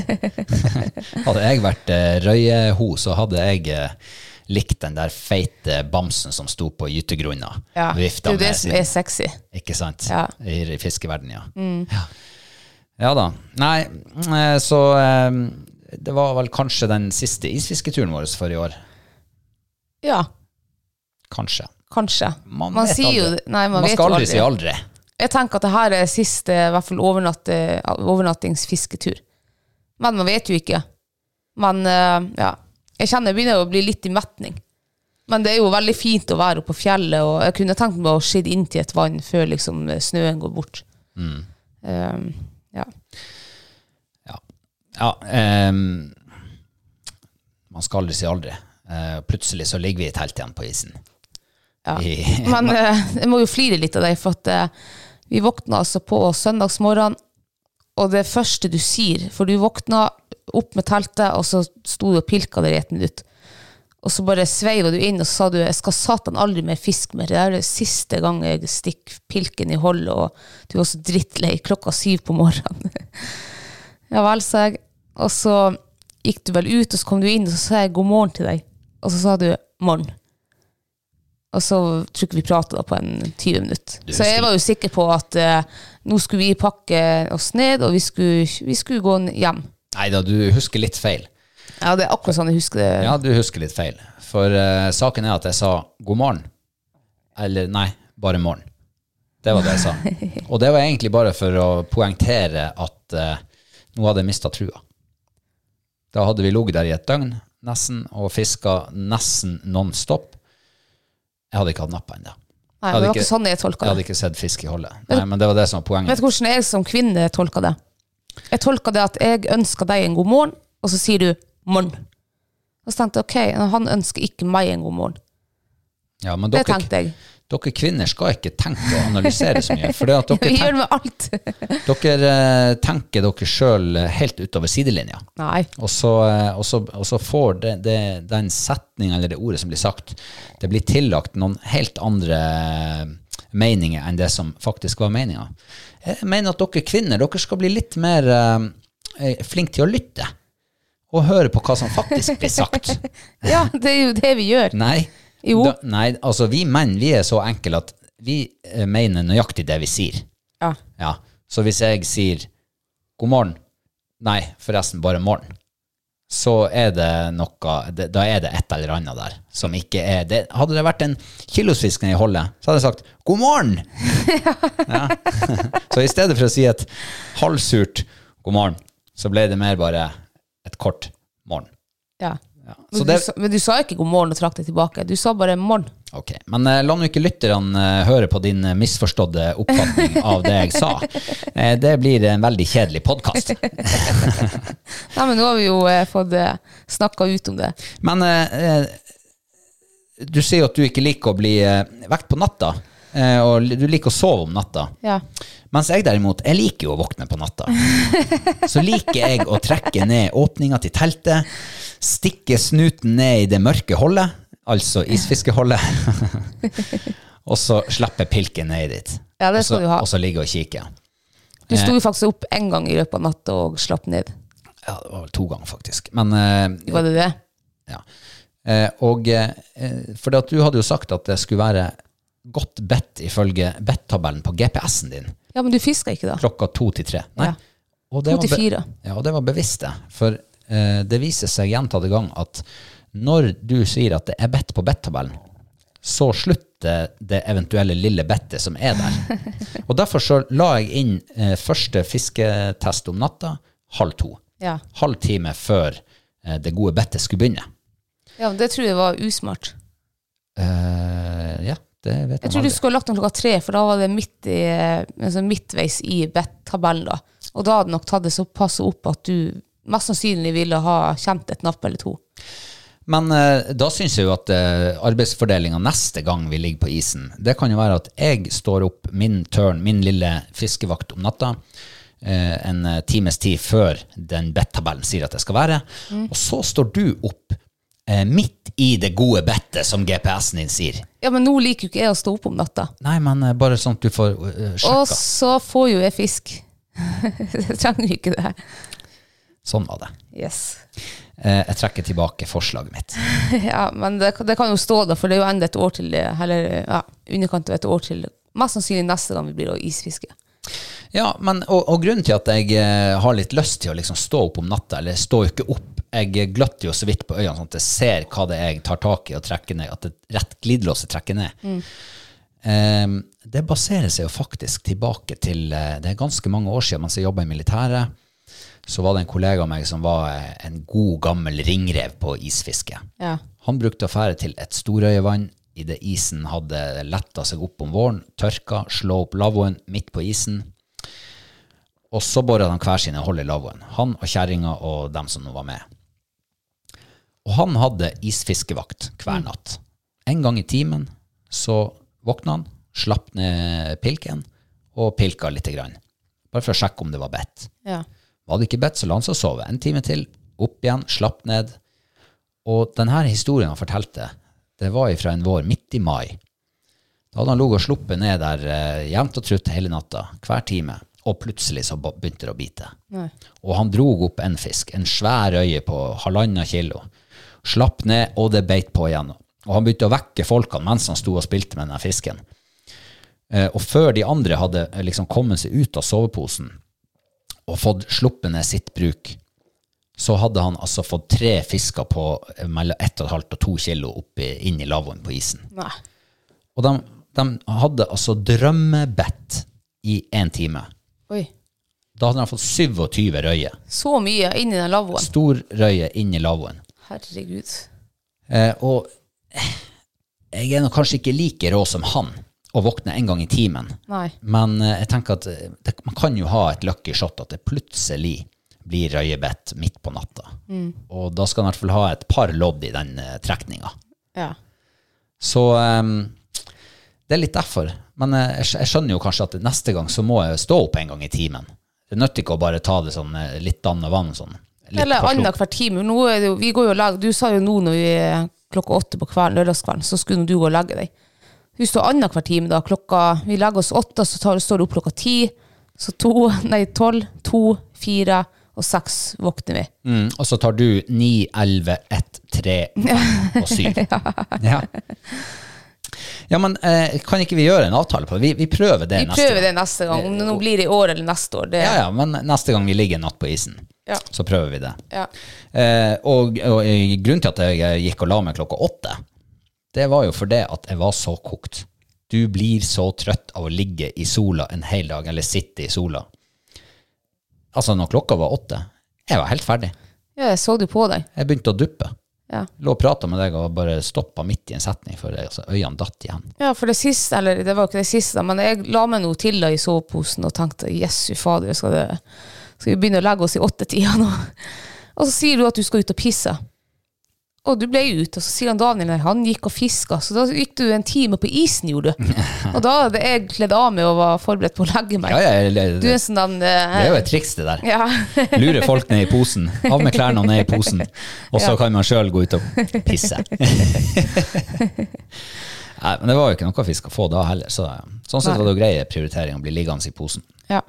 Speaker 1: hadde jeg vært eh, røyeho, så hadde jeg eh, likt den der feite bamsen som sto på gytegrunna.
Speaker 2: Ja. Det
Speaker 1: Vifta
Speaker 2: er jo det
Speaker 1: med
Speaker 2: som
Speaker 1: sin-
Speaker 2: er sexy.
Speaker 1: ikke sant?
Speaker 2: Ja. Mm.
Speaker 1: I, i fiskeverden, ja. ja. Ja da. Nei, eh, så eh, det var vel kanskje den siste isfisketuren vår for i år.
Speaker 2: Ja,
Speaker 1: Kanskje.
Speaker 2: kanskje.
Speaker 1: Man
Speaker 2: Man,
Speaker 1: vet
Speaker 2: sier jo
Speaker 1: aldri.
Speaker 2: Nei, man,
Speaker 1: Man
Speaker 2: vet
Speaker 1: skal aldri si
Speaker 2: jo aldri.
Speaker 1: aldri.
Speaker 2: Jeg tenker at det her er siste, i hvert fall overnatte, overnattingsfisketur. Men man vet jo ikke. Men eh, ja, jeg kjenner jeg begynner å bli litt i metning. Men det er jo veldig fint å være oppe på fjellet, og jeg kunne tenkt meg å skidde inn til et vann før liksom snøen går bort. Eh, ja.
Speaker 1: Ja, ehm, man skal aldri si aldri. Eh, plutselig så ligger vi i telt igjen på isen.
Speaker 2: Ja.
Speaker 1: I,
Speaker 2: Men eh, jeg må jo flire litt av deg, for at eh, vi våkna altså på søndagsmorgen, og det første du sier For du våkna opp med teltet, og så sto du og pilka der i et minutt. Og så bare sveiva du inn, og så sa du 'jeg skal satan aldri mer fiske mer'. Det er det siste gang jeg stikker pilken i hullet, og du var så drittlei klokka syv på morgenen. ja vel, sa jeg. Og så gikk du vel ut, og så kom du inn, og så sa jeg 'god morgen' til deg. Og så sa du 'morgen'. Og så tror ikke vi prata på en 20 minutter.
Speaker 1: Du
Speaker 2: Så jeg
Speaker 1: husker-
Speaker 2: var jo sikker på at eh, nå skulle vi pakke oss ned, og vi skulle, vi skulle gå n- hjem.
Speaker 1: nei da, du husker litt feil.
Speaker 2: Ja, det er akkurat sånn jeg husker det.
Speaker 1: Ja, du husker litt feil. For eh, saken er at jeg sa god morgen. Eller nei, bare morgen. Det var det jeg sa. Og det var egentlig bare for å poengtere at eh, nå hadde jeg mista trua. Da hadde vi ligget der i et døgn nesten og fiska nesten non stop. Jeg hadde ikke hatt nappa ennå.
Speaker 2: Nei,
Speaker 1: hadde
Speaker 2: men det var
Speaker 1: ikke-
Speaker 2: ikke sånn jeg
Speaker 1: Jeg
Speaker 2: tolka
Speaker 1: hadde
Speaker 2: det.
Speaker 1: ikke sett fisk i hullet. Nei, men det var det som var
Speaker 2: Vet
Speaker 1: poenget.
Speaker 2: du hvordan jeg som kvinne tolka det? Jeg tolka det at jeg ønsker deg en god morgen, og så sier du 'morgen'. Og så tenkte jeg ok, han ønsker ikke meg en god morgen.
Speaker 1: Ja, men
Speaker 2: Det
Speaker 1: dere,
Speaker 2: tenkte jeg.
Speaker 1: dere kvinner skal ikke tenke og analysere så mye. For det at dere,
Speaker 2: Vi gjør det
Speaker 1: tenk,
Speaker 2: med alt.
Speaker 1: dere eh, tenker dere sjøl helt utover sidelinja.
Speaker 2: Nei.
Speaker 1: Og så, eh, og så, og så får det, det, den setninga eller det ordet som blir sagt, det blir tillagt noen helt andre eh, meninger enn det som faktisk var meninga. Jeg mener at dere kvinner dere skal bli litt mer eh, flinke til å lytte. Og høre på hva som faktisk blir sagt.
Speaker 2: Ja, det er jo det vi gjør.
Speaker 1: Nei.
Speaker 2: Jo.
Speaker 1: Da, nei, altså vi menn vi er så enkle at vi eh, mener nøyaktig det vi sier.
Speaker 2: Ja.
Speaker 1: Ja. Så hvis jeg sier god morgen, nei, forresten bare morgen, så er det noe, det, da er det et eller annet der som ikke er det. Hadde det vært en kilosfisk nede i holdet, så hadde jeg sagt god morgen! Ja. så i stedet for å si et halvsurt god morgen, så ble det mer bare et kort morgen.
Speaker 2: Ja.
Speaker 1: Ja.
Speaker 2: Men,
Speaker 1: Så det,
Speaker 2: du, sa- men du sa ikke god morgen og trakk deg tilbake. Du sa bare morgen.
Speaker 1: Ok, Men eh, la nå ikke lytterne eh, høre på din eh, misforstådde oppfatning av det jeg sa. Eh, det blir en veldig kjedelig podkast.
Speaker 2: Nei, men nå har vi jo eh, fått eh, snakka ut om det.
Speaker 1: Men eh, eh, du sier jo at du ikke liker å bli eh, vekt på natta, eh, og du liker å sove om natta.
Speaker 2: Ja.
Speaker 1: Mens jeg derimot, jeg liker jo å våkne på natta. Så liker jeg å trekke ned åpninga til teltet, stikke snuten ned i det mørke hullet, altså isfiskeholdet, og så slippe pilken ned dit.
Speaker 2: Ja, det skal
Speaker 1: og så,
Speaker 2: du ha.
Speaker 1: Og så ligge og kikke.
Speaker 2: Du
Speaker 1: eh,
Speaker 2: sto jo faktisk opp én gang i løpet av natta og slapp ned.
Speaker 1: Ja, det var vel to ganger, faktisk. Men, eh,
Speaker 2: Var det det?
Speaker 1: ja. Eh, og eh, For det at du hadde jo sagt at det skulle være godt bedt ifølge bedt-tabellen på GPS-en din
Speaker 2: Ja, men du fiska ikke da?
Speaker 1: klokka to til tre. Nei.
Speaker 2: Ja.
Speaker 1: Og
Speaker 2: To til
Speaker 1: var be-
Speaker 2: fire.
Speaker 1: Ja, og det var bevisst det. For eh, det viser seg gjentatte gang at når du sier at det er bedt på bedt-tabellen, så slutter det eventuelle lille bettet som er der. Og derfor så la jeg inn eh, første fisketest om natta halv to.
Speaker 2: Ja.
Speaker 1: Halv time før eh, det gode bettet skulle begynne.
Speaker 2: ja, men det tror jeg var usmart.
Speaker 1: Eh, ja, det vet
Speaker 2: Jeg
Speaker 1: man
Speaker 2: tror du
Speaker 1: aldri.
Speaker 2: skulle ha lagt den klokka tre, for da var det midt i, eh, altså midtveis i bet-tabellen. da. Og da hadde nok tatt det såpass opp at du mest sannsynlig ville ha kjent et napp eller to.
Speaker 1: Men eh, da syns jeg jo at eh, arbeidsfordelinga neste gang vi ligger på isen, det kan jo være at jeg står opp min tørn, min lille fiskevakt om natta, eh, en eh, times tid før den bettabellen sier at det skal være,
Speaker 2: Mm.
Speaker 1: og så står du opp eh, midt i det gode bettet som GPS-en din sier.
Speaker 2: Ja, men nå liker jo ikke jeg å stå opp om natta.
Speaker 1: Nei, men eh, bare sånn at du får eh,
Speaker 2: Og
Speaker 1: sjekka.
Speaker 2: så får jo jeg fisk. jeg trenger jo ikke det.
Speaker 1: Sånn var det.
Speaker 2: Yes.
Speaker 1: Eh, jeg trekker tilbake forslaget mitt.
Speaker 2: Ja, men det, det kan jo stå da, for det er jo enda et år til, eh, eller ja, underkant av et år til. Mest sannsynlig neste gang vi blir å isfiske.
Speaker 1: Ja, men, og, og grunnen til at jeg eh, har litt lyst til å liksom stå opp om natta, eller står jo ikke opp, jeg gløtter jo så vidt på øynene sånn at jeg ser hva det er jeg tar tak i og trekker ned, at det rett glidelåset trekker ned. Eh, det baserer seg jo faktisk tilbake til, eh, det er ganske mange år siden mens jeg jobbet i militæret, så var det en kollega av meg som var eh, en god gammel ringrev på isfiske.
Speaker 2: Ja.
Speaker 1: Han brukte å fære til et storøyevann i det isen hadde letta seg opp om våren, tørka, slå opp lavvoen midt på isen. Og så bora han hver sine hull i lavvoen, han og kjerringa og dem som nå var med. Og han hadde isfiskevakt hver natt. En gang i timen så våkna han, slapp ned pilken og pilka lite grann. Bare for å sjekke om det var bedt.
Speaker 2: Ja.
Speaker 1: Var det ikke bedt, så la han seg sove. En time til, opp igjen, slapp ned. Og denne historien han fortalte, det var fra en vår midt i mai. Da hadde han ligget og sluppet ned der eh, jevnt og trutt hele natta, hver time. Og plutselig så ba- begynte det å bite.
Speaker 2: Nei.
Speaker 1: Og han drog opp en fisk, en svær øye på halvannet kilo. Slapp ned, og det beit på igjen. Og han begynte å vekke folkene mens han sto og spilte med denne fisken. Eh, Og før de andre hadde eh, liksom kommet seg ut av soveposen og fått sluppet ned sitt bruk, så hadde han altså fått tre fisker på eh, mellom 1,5 og 2 kilo oppi, inn i lavvoen på isen.
Speaker 2: Nei.
Speaker 1: Og de, de hadde altså drømmebett i én time.
Speaker 2: Oi.
Speaker 1: Da hadde de fått 27 røyer.
Speaker 2: Så mye inn i den lavvoen.
Speaker 1: Stor røye inn i lavvoen.
Speaker 2: Herregud.
Speaker 1: Eh, og jeg er nå kanskje ikke like rå som han å våkne en gang i timen,
Speaker 2: Nei.
Speaker 1: men eh, jeg tenker at eh, det, man kan jo ha et lucky shot at det plutselig blir røyebett midt på natta.
Speaker 2: Mm.
Speaker 1: Og da skal han i hvert fall ha et par lodd i den eh, trekninga.
Speaker 2: Ja.
Speaker 1: Så eh, det er litt derfor. Men eh, jeg, skj- jeg skjønner jo kanskje at neste gang så må jeg stå opp en gang i timen. Det nytter ikke å bare ta det sånn eh, litt annet vann. sånn. Litt
Speaker 2: Eller
Speaker 1: på slupp.
Speaker 2: annenhver time. Nå er det jo, vi går jo og legger, du sa jo nå når vi eh, klokka åtte på kvelden, lørdagskvelden, så skulle du gå og legge deg. Vi står annenhver time da. Klokka, vi legger oss åtte, så tar, står du opp klokka ti. Så to, nei tolv, to, fire og seks våkner vi.
Speaker 1: Mm, og så tar du 9, 11, 1, 3, 5 og 7. ja. ja, men eh, kan ikke vi gjøre en avtale på det? Vi, vi prøver det
Speaker 2: Vi
Speaker 1: neste
Speaker 2: prøver det
Speaker 1: gang.
Speaker 2: neste gang, om det nå blir i år eller neste år. Det,
Speaker 1: Ja, ja, men neste gang vi ligger en natt på isen,
Speaker 2: Ja.
Speaker 1: så prøver vi det.
Speaker 2: Ja.
Speaker 1: Eh, og, og eh, grunnen til at jeg gikk og la meg klokka åtte, det var jo fordi at jeg var så kokt. Du blir så trøtt av å ligge i sola en hel dag, eller sitte i sola, Altså, når klokka var åtte, jeg var helt ferdig.
Speaker 2: Ja, jeg så det på deg.
Speaker 1: Jeg begynte å duppe.
Speaker 2: Ja.
Speaker 1: Lå og prata med deg og bare stoppa midt i en setning før jeg- altså, øynene datt igjen.
Speaker 2: Ja, for det siste, eller det var ikke det siste, men jeg la meg noe til da i soveposen og tenkte Jesu fader, skal, det, skal vi begynne å legge oss i åttetida nå? Og så sier du at du skal ut og pisse. Og du ble ut, og så sier han Daniel her, han gikk og fiska, så da gikk du en time på isen, gjorde du. Og da hadde jeg kledd av meg og var forberedt på å legge meg.
Speaker 1: Ja, ja, jeg- det,
Speaker 2: Du er
Speaker 1: det,
Speaker 2: sånn den
Speaker 1: er jo
Speaker 2: eh,
Speaker 1: et triks, det der.
Speaker 2: ja.
Speaker 1: Lure folk ned i posen. Av med klærne og ned i posen. Og så kan man sjøl gå ut og pisse. Nei, men det var jo ikke noe vi skal få da heller. Så, sånn sett var det jo grei prioritering å bli liggende i posen.
Speaker 2: ja.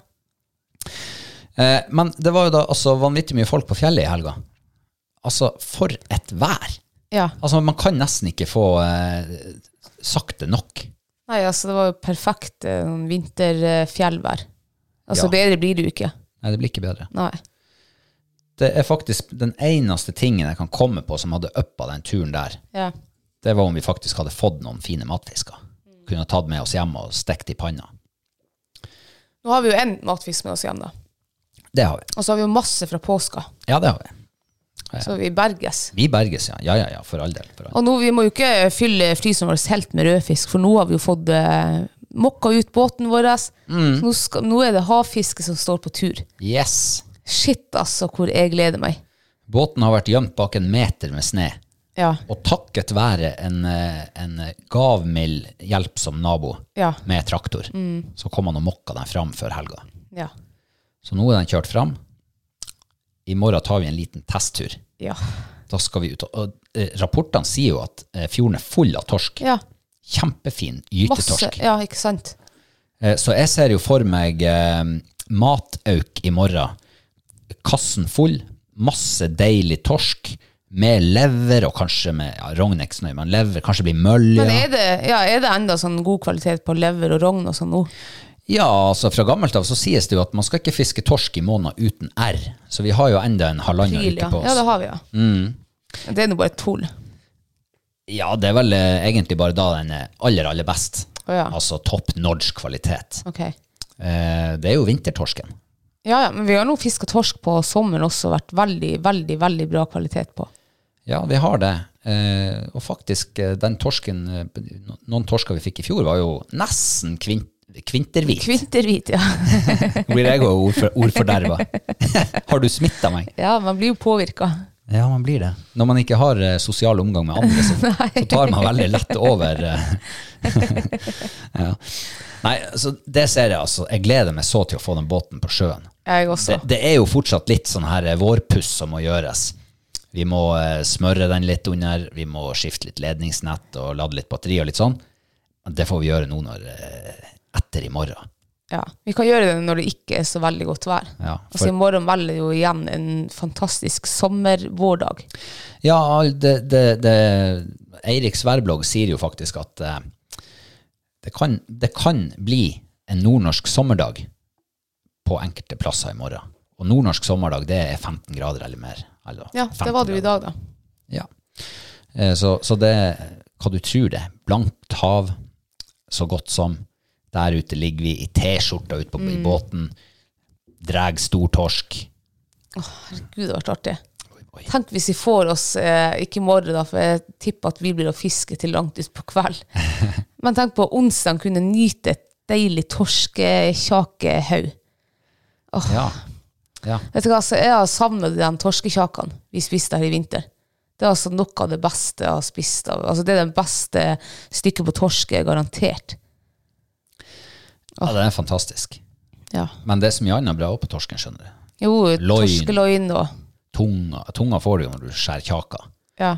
Speaker 1: Eh, men det var jo da altså vanvittig mye folk på fjellet i helga. Altså, for et vær!
Speaker 2: Ja.
Speaker 1: Altså, man kan nesten ikke få eh, sagt det nok.
Speaker 2: Nei, altså, det var jo perfekt eh, sånn vinterfjellvær. Altså,
Speaker 1: Ja.
Speaker 2: bedre blir det jo ikke.
Speaker 1: Nei, det blir ikke bedre.
Speaker 2: Nei.
Speaker 1: Det er faktisk den eneste tingen jeg kan komme på som hadde uppa den turen der.
Speaker 2: Ja.
Speaker 1: det var om vi faktisk hadde fått noen fine matfisker.
Speaker 2: Mm.
Speaker 1: Kunne ha tatt med oss hjem og stekt i panna.
Speaker 2: Nå har vi jo en matfisk med oss hjem, da.
Speaker 1: Det har vi.
Speaker 2: Og så har vi jo masse fra påska,
Speaker 1: Ja, det har vi.
Speaker 2: så vi berges.
Speaker 1: Vi berges, ja. Ja, ja, ja, for all del. For all del.
Speaker 2: Og nå, vi må jo ikke fylle fryseren vår helt med rødfisk, for nå har vi jo fått eh, mokka ut båten vår. Så nå, skal, nå er det havfiske som står på tur.
Speaker 1: Yes!
Speaker 2: Shit, altså, hvor jeg gleder meg.
Speaker 1: Båten har vært gjemt bak en meter med sne.
Speaker 2: Ja.
Speaker 1: Og takket være en, eh, en gavmild hjelpsom nabo
Speaker 2: Ja.
Speaker 1: med traktor,
Speaker 2: Mm.
Speaker 1: så kom han og mokka den fram før helga.
Speaker 2: Ja.
Speaker 1: Så nå er den kjørt fram. I morgen tar vi en liten testtur.
Speaker 2: Ja.
Speaker 1: Da skal vi ut. og- Og eh, rapportene sier jo at eh, fjorden er full av torsk.
Speaker 2: ja.
Speaker 1: Kjempefin
Speaker 2: Masse.
Speaker 1: gytetorsk.
Speaker 2: Ja, ikke sant?
Speaker 1: Eh, Så jeg ser jo for meg eh, matauk i morgen. Kassen full, masse deilig torsk, med lever og kanskje med ja, rognekksnøy, men lever, kanskje blir mølja.
Speaker 2: Men er det, ja, er det enda sånn god kvalitet på lever og rogn og sånn nå?
Speaker 1: Ja, altså fra gammelt av så sies det jo at man skal ikke fiske torsk i måneder uten R, så vi har jo enda en halvannen
Speaker 2: Pril,
Speaker 1: uke
Speaker 2: ja.
Speaker 1: på
Speaker 2: ja, det
Speaker 1: oss. Mm.
Speaker 2: har vi, ja. Det er nå bare tull.
Speaker 1: Ja, det er vel eh, egentlig bare da den er aller, aller best.
Speaker 2: Å ja.
Speaker 1: Altså topp norsk kvalitet.
Speaker 2: Ok.
Speaker 1: Eh, det er jo vintertorsken.
Speaker 2: Ja, ja, men vi har nå fiska torsk på sommeren også, vært veldig, veldig, veldig bra kvalitet på.
Speaker 1: Ja, vi har det. Eh, og faktisk, eh, den torsken, eh, no- noen torsker vi fikk i fjor, var jo nesten kvin kvinterhvit.
Speaker 2: Kvinterhvit, ja.
Speaker 1: Blir jeg òg ordfor, ordforderva? har du smitta meg?
Speaker 2: Ja, man blir jo påvirka.
Speaker 1: Ja, man blir det. Når man ikke har eh, sosial omgang med andre, så, så tar man veldig lett over. eh. ja. Nei, så det ser jeg altså. Jeg gleder meg så til å få den båten på sjøen.
Speaker 2: Jeg også.
Speaker 1: Det, det er jo fortsatt litt sånn her eh, vårpuss som må gjøres. Vi må eh, smøre den litt under, vi må skifte litt ledningsnett og lade litt batteri og litt sånn. Men Det får vi gjøre nå når, eh, etter i morgen.
Speaker 2: Ja. Vi kan gjøre det når det ikke er så veldig godt vær.
Speaker 1: Ja, for-
Speaker 2: Altså I morgen velger jo igjen en fantastisk sommervårdag.
Speaker 1: Ja, det, det, det, Eirik Sværblogg sier jo faktisk at eh, det, kan, det kan bli en nordnorsk sommerdag på enkelte plasser i morgen. Og nordnorsk sommerdag, det er 15 grader eller mer. Eller
Speaker 2: Ja,
Speaker 1: 15
Speaker 2: det var det jo
Speaker 1: grader.
Speaker 2: i
Speaker 1: Ja.
Speaker 2: dag, da.
Speaker 1: Eh, Så, så det hva du tror det. Blankt hav, så godt som. Der ute ligger vi i T-skjorta ute på i båten. Dreg stor torsk.
Speaker 2: Herregud, det har vært artig.
Speaker 1: Oi, oi.
Speaker 2: Tenk hvis vi får oss, eh, ikke i morgen da, for jeg tipper at vi blir å fiske til langt ut på kveld. Men tenk på onsdag kunne nyte et deilig torskekjakehaug.
Speaker 1: Ja. ja.
Speaker 2: Vet du hva, altså, jeg har savnet de torskekjakene vi spiste her i vinter. Det er altså noe av det beste jeg har spist. av- Altså, det er det beste stykket på torske, garantert.
Speaker 1: ja, det er fantastisk.
Speaker 2: Ja.
Speaker 1: Men det er så mye annet bra også på torsken, skjønner du.
Speaker 2: Jo,
Speaker 1: Loin.
Speaker 2: torskeloin og
Speaker 1: Tunga, tunga får du jo når du skjærer kjaka.
Speaker 2: ja.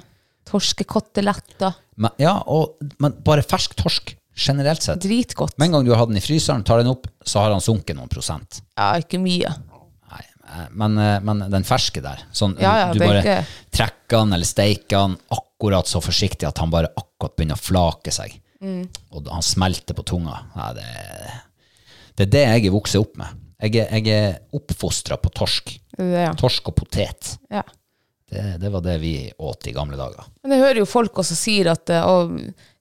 Speaker 2: torskekoteletter.
Speaker 1: Men, ja, og, men bare fersk torsk, generelt sett.
Speaker 2: Dritgodt.
Speaker 1: Med en gang du har hatt den i fryseren, tar den opp, så har han sunket noen prosent.
Speaker 2: Ja, ikke mye.
Speaker 1: Nei, eh, men, eh, men den ferske der, sånn,
Speaker 2: Ja, ja,
Speaker 1: du
Speaker 2: det er
Speaker 1: bare
Speaker 2: ikke-
Speaker 1: trekker han eller steiker han akkurat så forsiktig at han bare akkurat begynner å flake seg.
Speaker 2: Mm.
Speaker 1: Og da han smelter på tunga. Nei, det, det er det jeg er vokset opp med. Jeg er, jeg er oppfostret på torsk.
Speaker 2: Det er det, ja.
Speaker 1: Torsk og potet.
Speaker 2: ja.
Speaker 1: Det, det var det vi åt i gamle dager.
Speaker 2: Men jeg hører jo folk også sier at eh, å,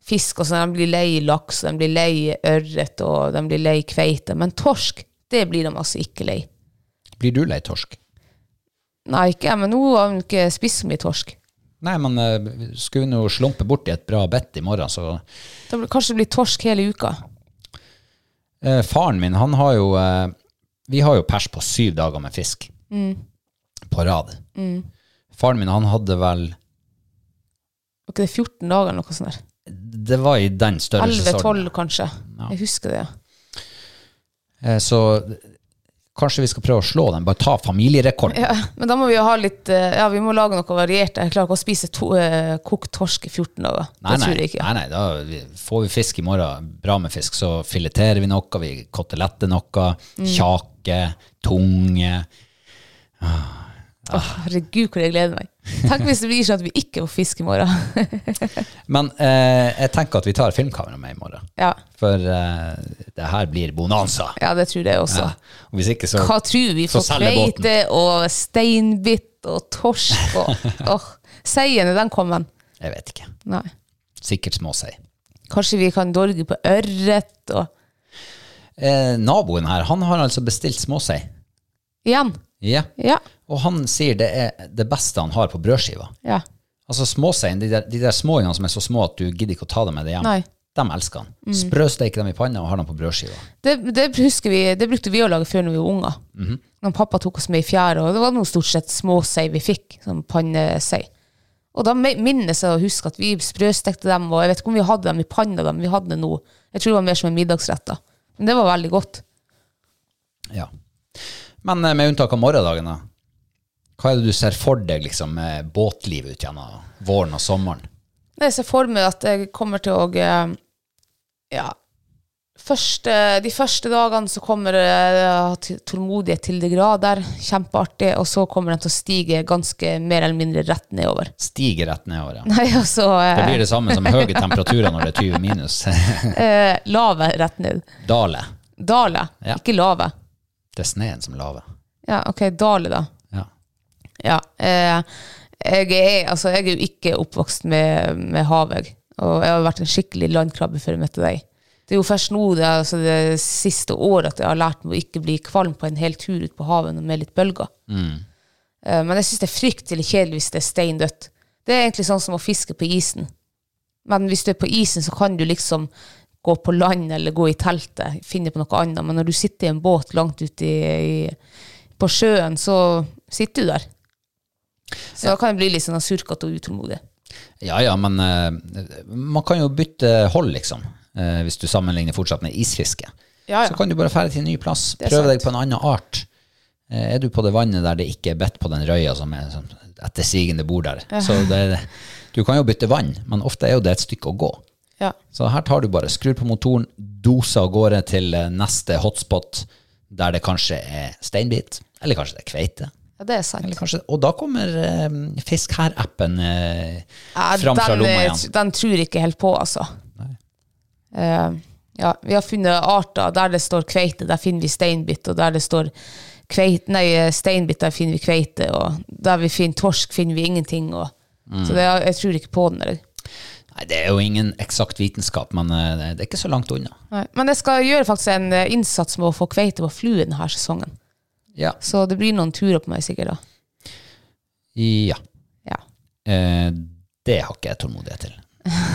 Speaker 2: fisk og sånn, de blir lei laks, de blir lei ørret og de blir lei kveite. Men torsk, det blir de altså ikke lei.
Speaker 1: Blir du lei torsk?
Speaker 2: Nei, ikke jeg, men nå har hun ikke spist så mye torsk.
Speaker 1: Nei, men eh, skulle vi nå slumpe borti et bra bitt i morgen, så
Speaker 2: Da blir, kanskje det blir torsk hele uka.
Speaker 1: Eh, faren min, han har jo eh, Vi har jo pers på syv dager med fisk
Speaker 2: Mm.
Speaker 1: på rad. Faren min, han hadde vel
Speaker 2: Var ikke det 14 dager eller noe sånt der?
Speaker 1: Det var i den størrelsesorden.
Speaker 2: 11-12 kanskje. Jeg husker det. ja.
Speaker 1: Eh, så kanskje vi skal prøve å slå den. Bare ta familierekorden.
Speaker 2: Ja, Eh, men da må vi jo ha litt eh, Ja, vi må lage noe variert. Jeg klarer ikke å spise to, eh, kokt torsk i 14 dager.
Speaker 1: Nei, nei,
Speaker 2: det tror jeg ikke.
Speaker 1: nei, nei, da vi- får vi fisk i morgen, bra med fisk, så fileterer vi noe, vi koteletter noe,
Speaker 2: Mm.
Speaker 1: kjake, tunge.
Speaker 2: Åh, herregud, hvor jeg gleder meg. Tenk hvis det blir sånn at vi ikke får fisk i morgen.
Speaker 1: Men eh, jeg tenker at vi tar filmkamera med i morgen,
Speaker 2: ja.
Speaker 1: for eh, det her blir bonanza.
Speaker 2: ja, det tror jeg også.
Speaker 1: Ja. Og hvis ikke, så
Speaker 2: Hva tror vi?
Speaker 1: Så
Speaker 2: Får
Speaker 1: selger båten.
Speaker 2: kveite og steinbitt og torsk og åh. Seiene, den kom den.
Speaker 1: Jeg vet ikke.
Speaker 2: Nei.
Speaker 1: Sikkert småsei.
Speaker 2: Kanskje vi kan dorge på ørret og
Speaker 1: Eh, naboen her, han har altså bestilt småsei.
Speaker 2: Igjen.
Speaker 1: Ja.
Speaker 2: Ja.
Speaker 1: Og han sier det er det beste han har på brødskiva.
Speaker 2: ja.
Speaker 1: Altså småseien, de der, de der småingene som er så små at du gidder ikke å ta dem med deg hjem,
Speaker 2: Nei. Mm.
Speaker 1: dem elsker han. Sprøsteker dem i panna og har dem på brødskiva.
Speaker 2: Det, det husker vi, det brukte vi å lage før når vi var unger.
Speaker 1: Mhm.
Speaker 2: Når pappa tok oss med i fjæra, og det var noe stort sett småsei vi fikk, sånn pannesei. Og da me- minnes jeg å huske at vi sprøstekte dem, og jeg vet ikke om vi hadde dem i panna, dem, vi hadde det nå. Jeg tror det var mer som en middagsrett da. Men det var veldig godt.
Speaker 1: Ja. Men eh, med unntak av morgendagen, da. Hva er det du ser for deg liksom, med båtlivet ut gjennom våren og sommeren?
Speaker 2: Jeg ser for meg at jeg kommer til å eh, Ja. Første, de første dagene så kommer jeg ha t- tålmodighet til de grader. Kjempeartig. Og så kommer den til å stige ganske mer eller mindre rett nedover.
Speaker 1: Stiger rett nedover, ja.
Speaker 2: Nei, og så eh,
Speaker 1: Det blir det samme som høye temperaturer når det er 20 minus.
Speaker 2: Eh, lave rett ned.
Speaker 1: Dale.
Speaker 2: Dale,
Speaker 1: Ja.
Speaker 2: ikke lave.
Speaker 1: Det er sneen som laver.
Speaker 2: Ja, ok, dale da.
Speaker 1: Ja.
Speaker 2: Ja, eh, jeg, er, altså, jeg er jo ikke oppvokst med, med havøy, og jeg har vært en skikkelig landkrabbe før jeg møtte deg. Det er jo først nå, det, er altså, det siste året, at jeg har lært meg å ikke bli kvalm på en hel tur ut på havet med litt bølger. Eh, men jeg synes det er fryktelig kjedelig hvis det er steindødt. Det er egentlig sånn som å fiske på isen. Men hvis du er på isen, så kan du liksom gå på land eller gå i teltet, finne på noe annet. Men når du sitter i en båt langt ute i, i, på sjøen, så sitter du der. Så da kan jeg bli litt sånn surkete og utålmodig.
Speaker 1: Ja, ja, men eh, man kan jo bytte hold, liksom. eh, hvis du sammenligner fortsatt med isfiske.
Speaker 2: Ja, ja.
Speaker 1: Så kan du bare fære til en ny plass,
Speaker 2: er
Speaker 1: prøve
Speaker 2: sant.
Speaker 1: deg på en annen art. Eh, er du på det vannet der det ikke er bedt på den røya som er sånn, etter sigende bor der, så det, du kan jo bytte vann, men ofte er jo det et stykke å gå.
Speaker 2: Ja.
Speaker 1: Så her tar du bare, skrur på motoren, doser av gårde til eh, neste hotspot, der det kanskje er steinbit, eller kanskje det er kveite.
Speaker 2: ja, det er sant.
Speaker 1: Eller kanskje, og da kommer eh, Fisk her-appen eh,
Speaker 2: Ja,
Speaker 1: fram fra
Speaker 2: den,
Speaker 1: lomma
Speaker 2: eh,
Speaker 1: igjen.
Speaker 2: tr- Den tror jeg ikke helt på, altså. Eh, ja, vi har funnet arter der det står kveite, der finner vi steinbitt, og der det står kveit, nei, eh, steinbitt, der finner vi kveite, og der vi finner torsk, finner vi ingenting. Og,
Speaker 1: Mm.
Speaker 2: Så det, jeg tror ikke på den. Eller.
Speaker 1: Nei, det er jo ingen eksakt vitenskap, men eh, det er ikke så langt unna.
Speaker 2: Men jeg skal gjøre faktisk en eh, innsats med å få kveite på flue denne sesongen.
Speaker 1: Ja.
Speaker 2: Så det blir noen turer på meg sikkert da.
Speaker 1: ja.
Speaker 2: Ja.
Speaker 1: Eh, det har ikke jeg tålmodighet til.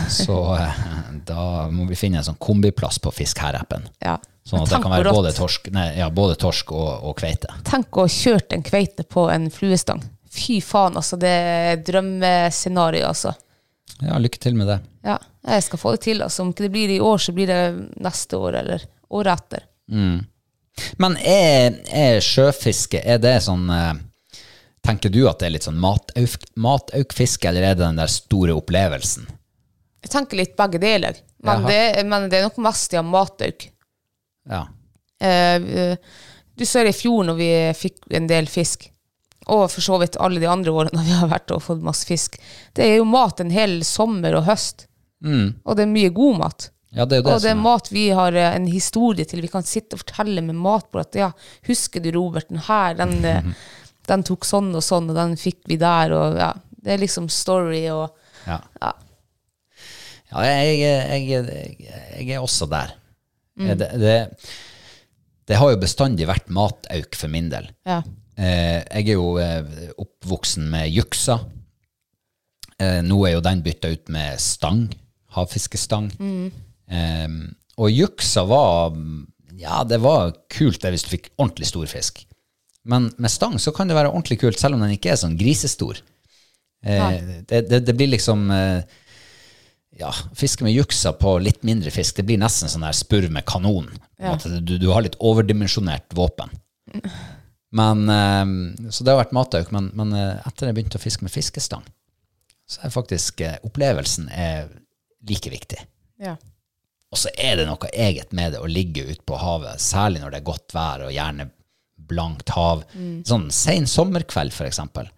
Speaker 1: Så eh, da må vi finne en sånn kombiplass på Fisk her-appen.
Speaker 2: ja.
Speaker 1: Sånn
Speaker 2: Men
Speaker 1: at det
Speaker 2: tenk
Speaker 1: kan
Speaker 2: hvor
Speaker 1: være
Speaker 2: rått.
Speaker 1: både torsk, nei, ja, både torsk og, og kveite.
Speaker 2: Tenk å ha kjørt en kveite på en fluestang. Fy faen, altså. Det er drømmescenario, altså.
Speaker 1: Ja, lykke til med det.
Speaker 2: Ja, jeg skal få det til. Altså. Om ikke det blir i år, så blir det neste år eller året etter.
Speaker 1: Men er, er sjøfiske, er det sånn eh, Tenker du at det er litt sånn matauk- mataukfiske, eller er det den der store opplevelsen?
Speaker 2: Jeg tenker litt begge deler, men,
Speaker 1: Jaha.
Speaker 2: det, men det er nok mest i en matauk.
Speaker 1: Ja.
Speaker 2: Eh, vi- du så det i fjor når vi fikk en del fisk, og for så vidt alle de andre årene når vi har vært og fått masse fisk. Det er jo mat en hel sommer og høst, og det er mye god mat.
Speaker 1: Mm. ja, det er jo det,
Speaker 2: og det er
Speaker 1: som er-
Speaker 2: mat vi har eh, en historie til. Vi kan sitte og fortelle med matbordet at ja, husker du Robert, den her, den, eh, den tok sånn og sånn, og den fikk vi der, og ja. Det er liksom story og
Speaker 1: ja.
Speaker 2: ja.
Speaker 1: Ja, jeg, jeg, jeg, jeg er også der. Det, det, Det har jo bestandig vært matauk for min del.
Speaker 2: Ja.
Speaker 1: Eh, jeg er jo eh, oppvoksen med juksa. Eh, nå er jo den bytta ut med stang. Havfiskestang. Eh, og juksa var Ja, det var kult det hvis du fikk ordentlig stor fisk. Men med stang så kan det være ordentlig kult, selv om den ikke er sånn grisestor. Eh, det, det, det blir liksom eh, ja, fiske med juksa på litt mindre fisk, det blir nesten sånn der spurv med kanon. På en måte. Du, du har litt overdimensjonert våpen. Men, eh, så det har vært matauk, men, men eh, etter jeg begynte å fiske med fiskestang, så er faktisk eh, opplevelsen er like viktig.
Speaker 2: ja.
Speaker 1: Og så er det noe eget med det å ligge ute på havet, særlig når det er godt vær og gjerne blankt hav. Sånn sen sommerkveld, for eksempel.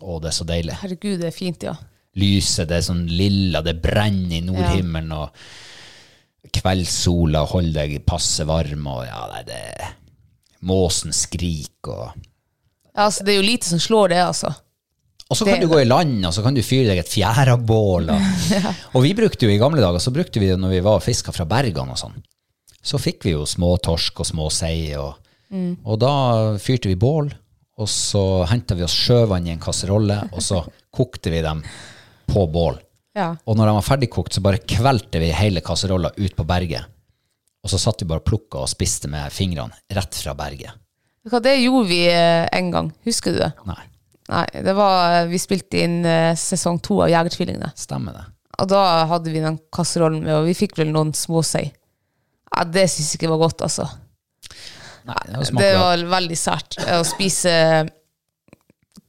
Speaker 1: Å, det er så deilig
Speaker 2: Herregud, det er fint, ja.
Speaker 1: lyset, det er sånn lilla, det brenner i nordhimmelen, og kveldssola holder deg passe varm, og ja, nei, det Måsen skriker, og
Speaker 2: ja altså, det er jo lite som slår det, altså.
Speaker 1: Og så kan
Speaker 2: Det-
Speaker 1: du gå i land, og så kan du fyre deg et fjærabål. Og, og vi brukte jo i gamle dager, så brukte vi det når vi var og fiska fra bergene og sånn. Så fikk vi jo små torsk og små sei, og, og da fyrte vi bål, og så henta vi oss sjøvann i en kasserolle, og så kokte vi dem på bål.
Speaker 2: Ja.
Speaker 1: Og når de var ferdigkokt, så bare kvelte vi hele kasserolla ut på berget. Og så satt vi bare og plukka og spiste med fingrene rett fra berget.
Speaker 2: Vet du Hva, det gjorde vi eh, en gang, husker du det?
Speaker 1: Nei,
Speaker 2: Nei, det var, eh, vi spilte inn eh, sesong to av Jegertvillingene.
Speaker 1: stemmer det?
Speaker 2: Og da hadde vi den kasserollen med, og vi fikk vel noen småsei. Ja, det synes jeg ikke var godt, altså.
Speaker 1: Nei, det var
Speaker 2: Det
Speaker 1: smakelig.
Speaker 2: var veldig sært eh, å spise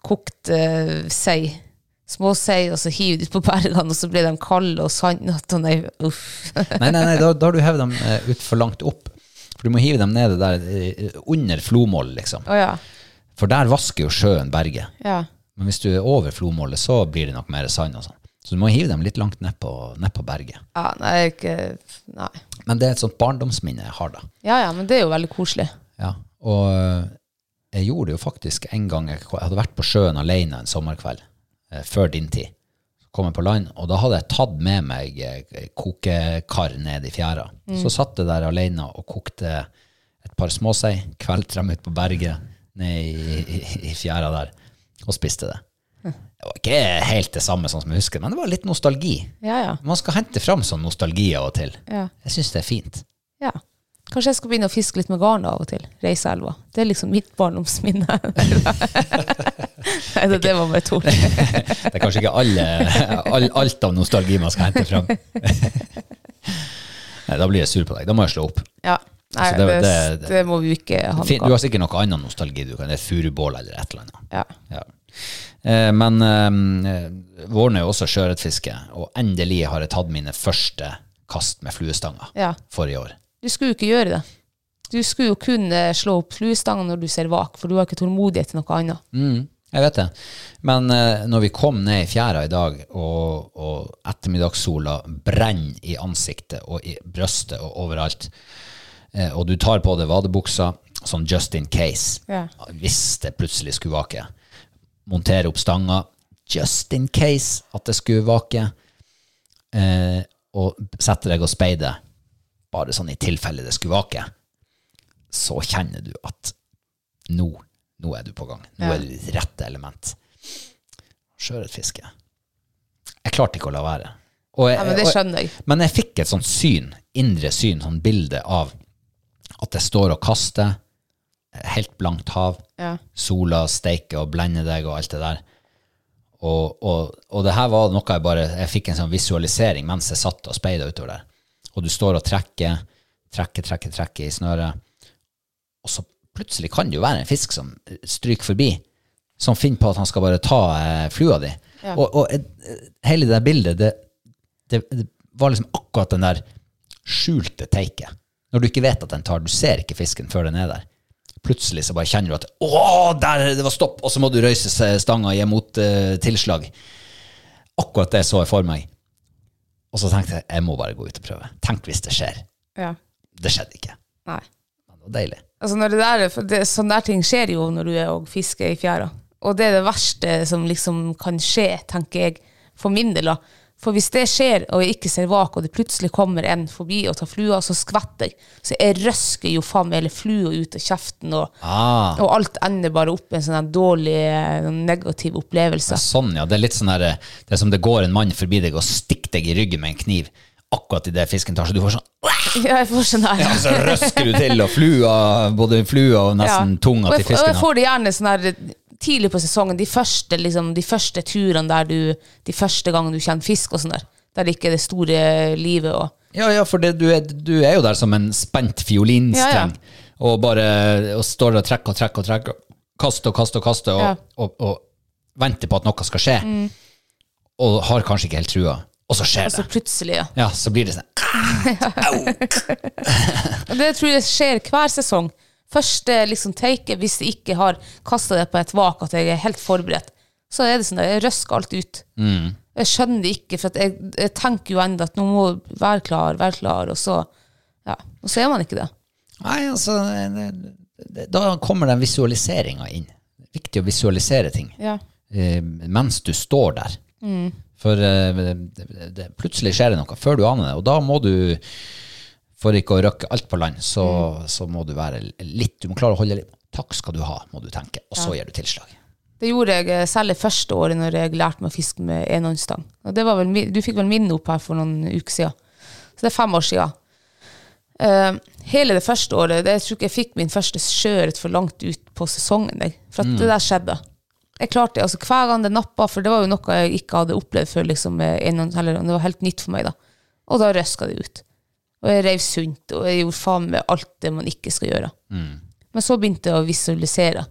Speaker 2: kokt eh, sei. Småsei, og så hive det ut på bergene, og så ble de kalde og sandete. og Nei, uff.
Speaker 1: Nei, nei, nei da, da har du hevet dem eh, ut for langt opp. For du må hive dem ned der eh, under flomålet, liksom.
Speaker 2: Å ja.
Speaker 1: For der vasker jo sjøen berget.
Speaker 2: ja.
Speaker 1: Men hvis du er over flomålet, så blir det nok mer sand og sånn. Så du må hive dem litt langt nedpå ned på berget.
Speaker 2: Ja, nei, ikke Nei.
Speaker 1: Men det er et sånt barndomsminne jeg har, da.
Speaker 2: Ja ja, men det er jo veldig koselig.
Speaker 1: Ja, og eh, jeg gjorde det jo faktisk en gang jeg jeg hadde vært på sjøen alene en sommerkveld, eh, før din tid. Så kom jeg på land, og da hadde jeg tatt med meg eh, kokekar ned i fjæra. Så satt jeg der alene og kokte et par småsei, kvelte dem ut på berget ned i, i, i fjæra der, og spiste det. Det var ikke helt det samme sånn som jeg husker, men det var litt nostalgi.
Speaker 2: Ja ja.
Speaker 1: Man skal hente fram sånn nostalgi av og til.
Speaker 2: Ja.
Speaker 1: Jeg syns det er fint.
Speaker 2: ja. Kanskje jeg skal begynne å fiske litt med garn av og til. Reise elva. Det er liksom mitt barndomsminne. Nei, det, det var bare tull.
Speaker 1: Det er kanskje ikke alle, all, alt av nostalgi man skal hente fram. Nei, da blir jeg sur på deg. Da må jeg slå opp.
Speaker 2: Ja. Nei,
Speaker 1: Altså,
Speaker 2: det,
Speaker 1: det-
Speaker 2: det,
Speaker 1: det-
Speaker 2: må vi jo ikke ha
Speaker 1: Fin- Du
Speaker 2: noe
Speaker 1: har
Speaker 2: av.
Speaker 1: sikkert noe annet nostalgi. du kan, Det er furubål eller et eller annet.
Speaker 2: Ja.
Speaker 1: Ja. Eh, Men eh, våren er jo også sjøørretfiske, og endelig har jeg tatt mine første kast med fluestanga
Speaker 2: ja.
Speaker 1: forrige år.
Speaker 2: Du skulle jo ikke gjøre det. Du skulle jo kun eh, slå opp fluestangen når du ser vak, for du har ikke tålmodighet til noe annet.
Speaker 1: Mm, jeg vet det. Men eh, når vi kom ned i fjæra i dag, og, og ettermiddagssola brenner i ansiktet og i brøstet og overalt, eh, og du tar på deg vadebuksa sånn just in case,
Speaker 2: Ja.
Speaker 1: hvis det plutselig skulle vake, montere opp stanga just in case at det skulle vake, eh, og sette deg og speide, bare sånn i tilfelle det skulle vake, så kjenner du at nå, nå er du på gang. Nå
Speaker 2: Ja.
Speaker 1: er du i ditt rette element. Sjøørretfiske. Jeg klarte ikke å la være. Og jeg-
Speaker 2: Ja, men det
Speaker 1: og-
Speaker 2: skjønner jeg.
Speaker 1: men jeg fikk et sånt syn, indre syn, sånn bilde av at jeg står og kaster, helt blankt hav,
Speaker 2: Ja.
Speaker 1: sola steiker og blender deg og alt det der. Og, og, og det her var noe jeg bare Jeg fikk en sånn visualisering mens jeg satt og speida utover der. Og du står og trekker, trekker, trekker, trekker i snøret, og så plutselig kan det jo være en fisk som stryker forbi, som finner på at han skal bare ta eh, flua di. Og, og eh, hele det der bildet, det, det, det var liksom akkurat den der skjulte teiket. Når du ikke vet at den tar, du ser ikke fisken før den er der. Plutselig så bare kjenner du at å, der det var stopp, og så må du røyse s- stanga i mot eh, tilslag. Akkurat det så jeg for meg. Og så tenkte jeg jeg må bare gå ut og prøve. Tenk hvis det skjer.
Speaker 2: ja.
Speaker 1: Det skjedde ikke.
Speaker 2: Nei.
Speaker 1: Men det var deilig.
Speaker 2: Altså når det der, for det, sånne der ting skjer jo når du er og fisker i fjæra. Og det er det verste som liksom kan skje, tenker jeg, for min del. da. For hvis det skjer, og jeg ikke ser vak, og det plutselig kommer en forbi og tar flua, så skvetter jeg. Så jeg røsker jo faen meg hele flua ut av kjeften, og,
Speaker 1: Ah,
Speaker 2: og alt ender bare opp i en sånn her dårlig, eh, negativ opplevelse.
Speaker 1: sånn, ja. Det er litt sånn der, eh, det er som det går en mann forbi deg og stikker deg i ryggen med en kniv akkurat idet fisken tar, så du får sånn
Speaker 2: Ja, jeg får sånn her.
Speaker 1: ja, Så røsker du til, og flua, både flua og nesten
Speaker 2: Ja.
Speaker 1: tunga
Speaker 2: Og
Speaker 1: til
Speaker 2: jeg f- Og
Speaker 1: fisken.
Speaker 2: jeg får det gjerne sånn der tidlig på sesongen, de første, liksom, de første turene der du De første gangene du kjenner fisk og sånn der. Der ikke det store livet og
Speaker 1: Ja, ja, for det, du, er, du er jo der som en spent fiolinstreng, og bare og står og trekker og trekker og trekker, kaster og kaster og kaster, og,
Speaker 2: Ja.
Speaker 1: og, og, venter på at noe skal skje, og har kanskje ikke helt trua, Mm. og så skjer
Speaker 2: Altså
Speaker 1: det.
Speaker 2: plutselig, ja.
Speaker 1: Ja, så blir det sånn.
Speaker 2: Og det tror jeg skjer hver sesong. Første liksom take, hvis jeg ikke har kasta det på et vak, at jeg er helt forberedt, så er det sånn at jeg røsker alt ut.
Speaker 1: Mm.
Speaker 2: Jeg skjønner det ikke, for at jeg, jeg tenker jo ennå at nå må jeg være klar, være klar, og så Ja. Og så er man ikke det.
Speaker 1: Nei, altså, det, det, da kommer den visualiseringa inn. Det er Viktig å visualisere ting.
Speaker 2: Ja.
Speaker 1: eh, mens du står der.
Speaker 2: Mm.
Speaker 1: For eh, det, det, plutselig skjer det noe før du aner det, og da må du for ikke å røkke alt på land, så,
Speaker 2: Mm.
Speaker 1: så må du være litt Du må klare å holde litt Takk skal du ha, må du tenke, og så gir du tilslag.
Speaker 2: Det gjorde jeg eh, selv det første året når jeg lærte meg å fiske med enhåndsstang. Og det var vel, mi- du fikk vel min opp her for noen uker siden. Så det er fem år siden. Eh, hele det første året, det, jeg tror ikke jeg fikk min første sjøørret for langt ut på sesongen. Jeg, for
Speaker 1: Mm.
Speaker 2: at det der skjedde. Jeg klarte det, altså Hver gang det nappa, for det var jo noe jeg ikke hadde opplevd før. liksom med enhånds- eller Det var helt nytt for meg. da. Og da røska det ut. Og jeg reiv sunt, og jeg gjorde faen meg alt det man ikke skal gjøre.
Speaker 1: Mm.
Speaker 2: Men så begynte jeg å visualisere.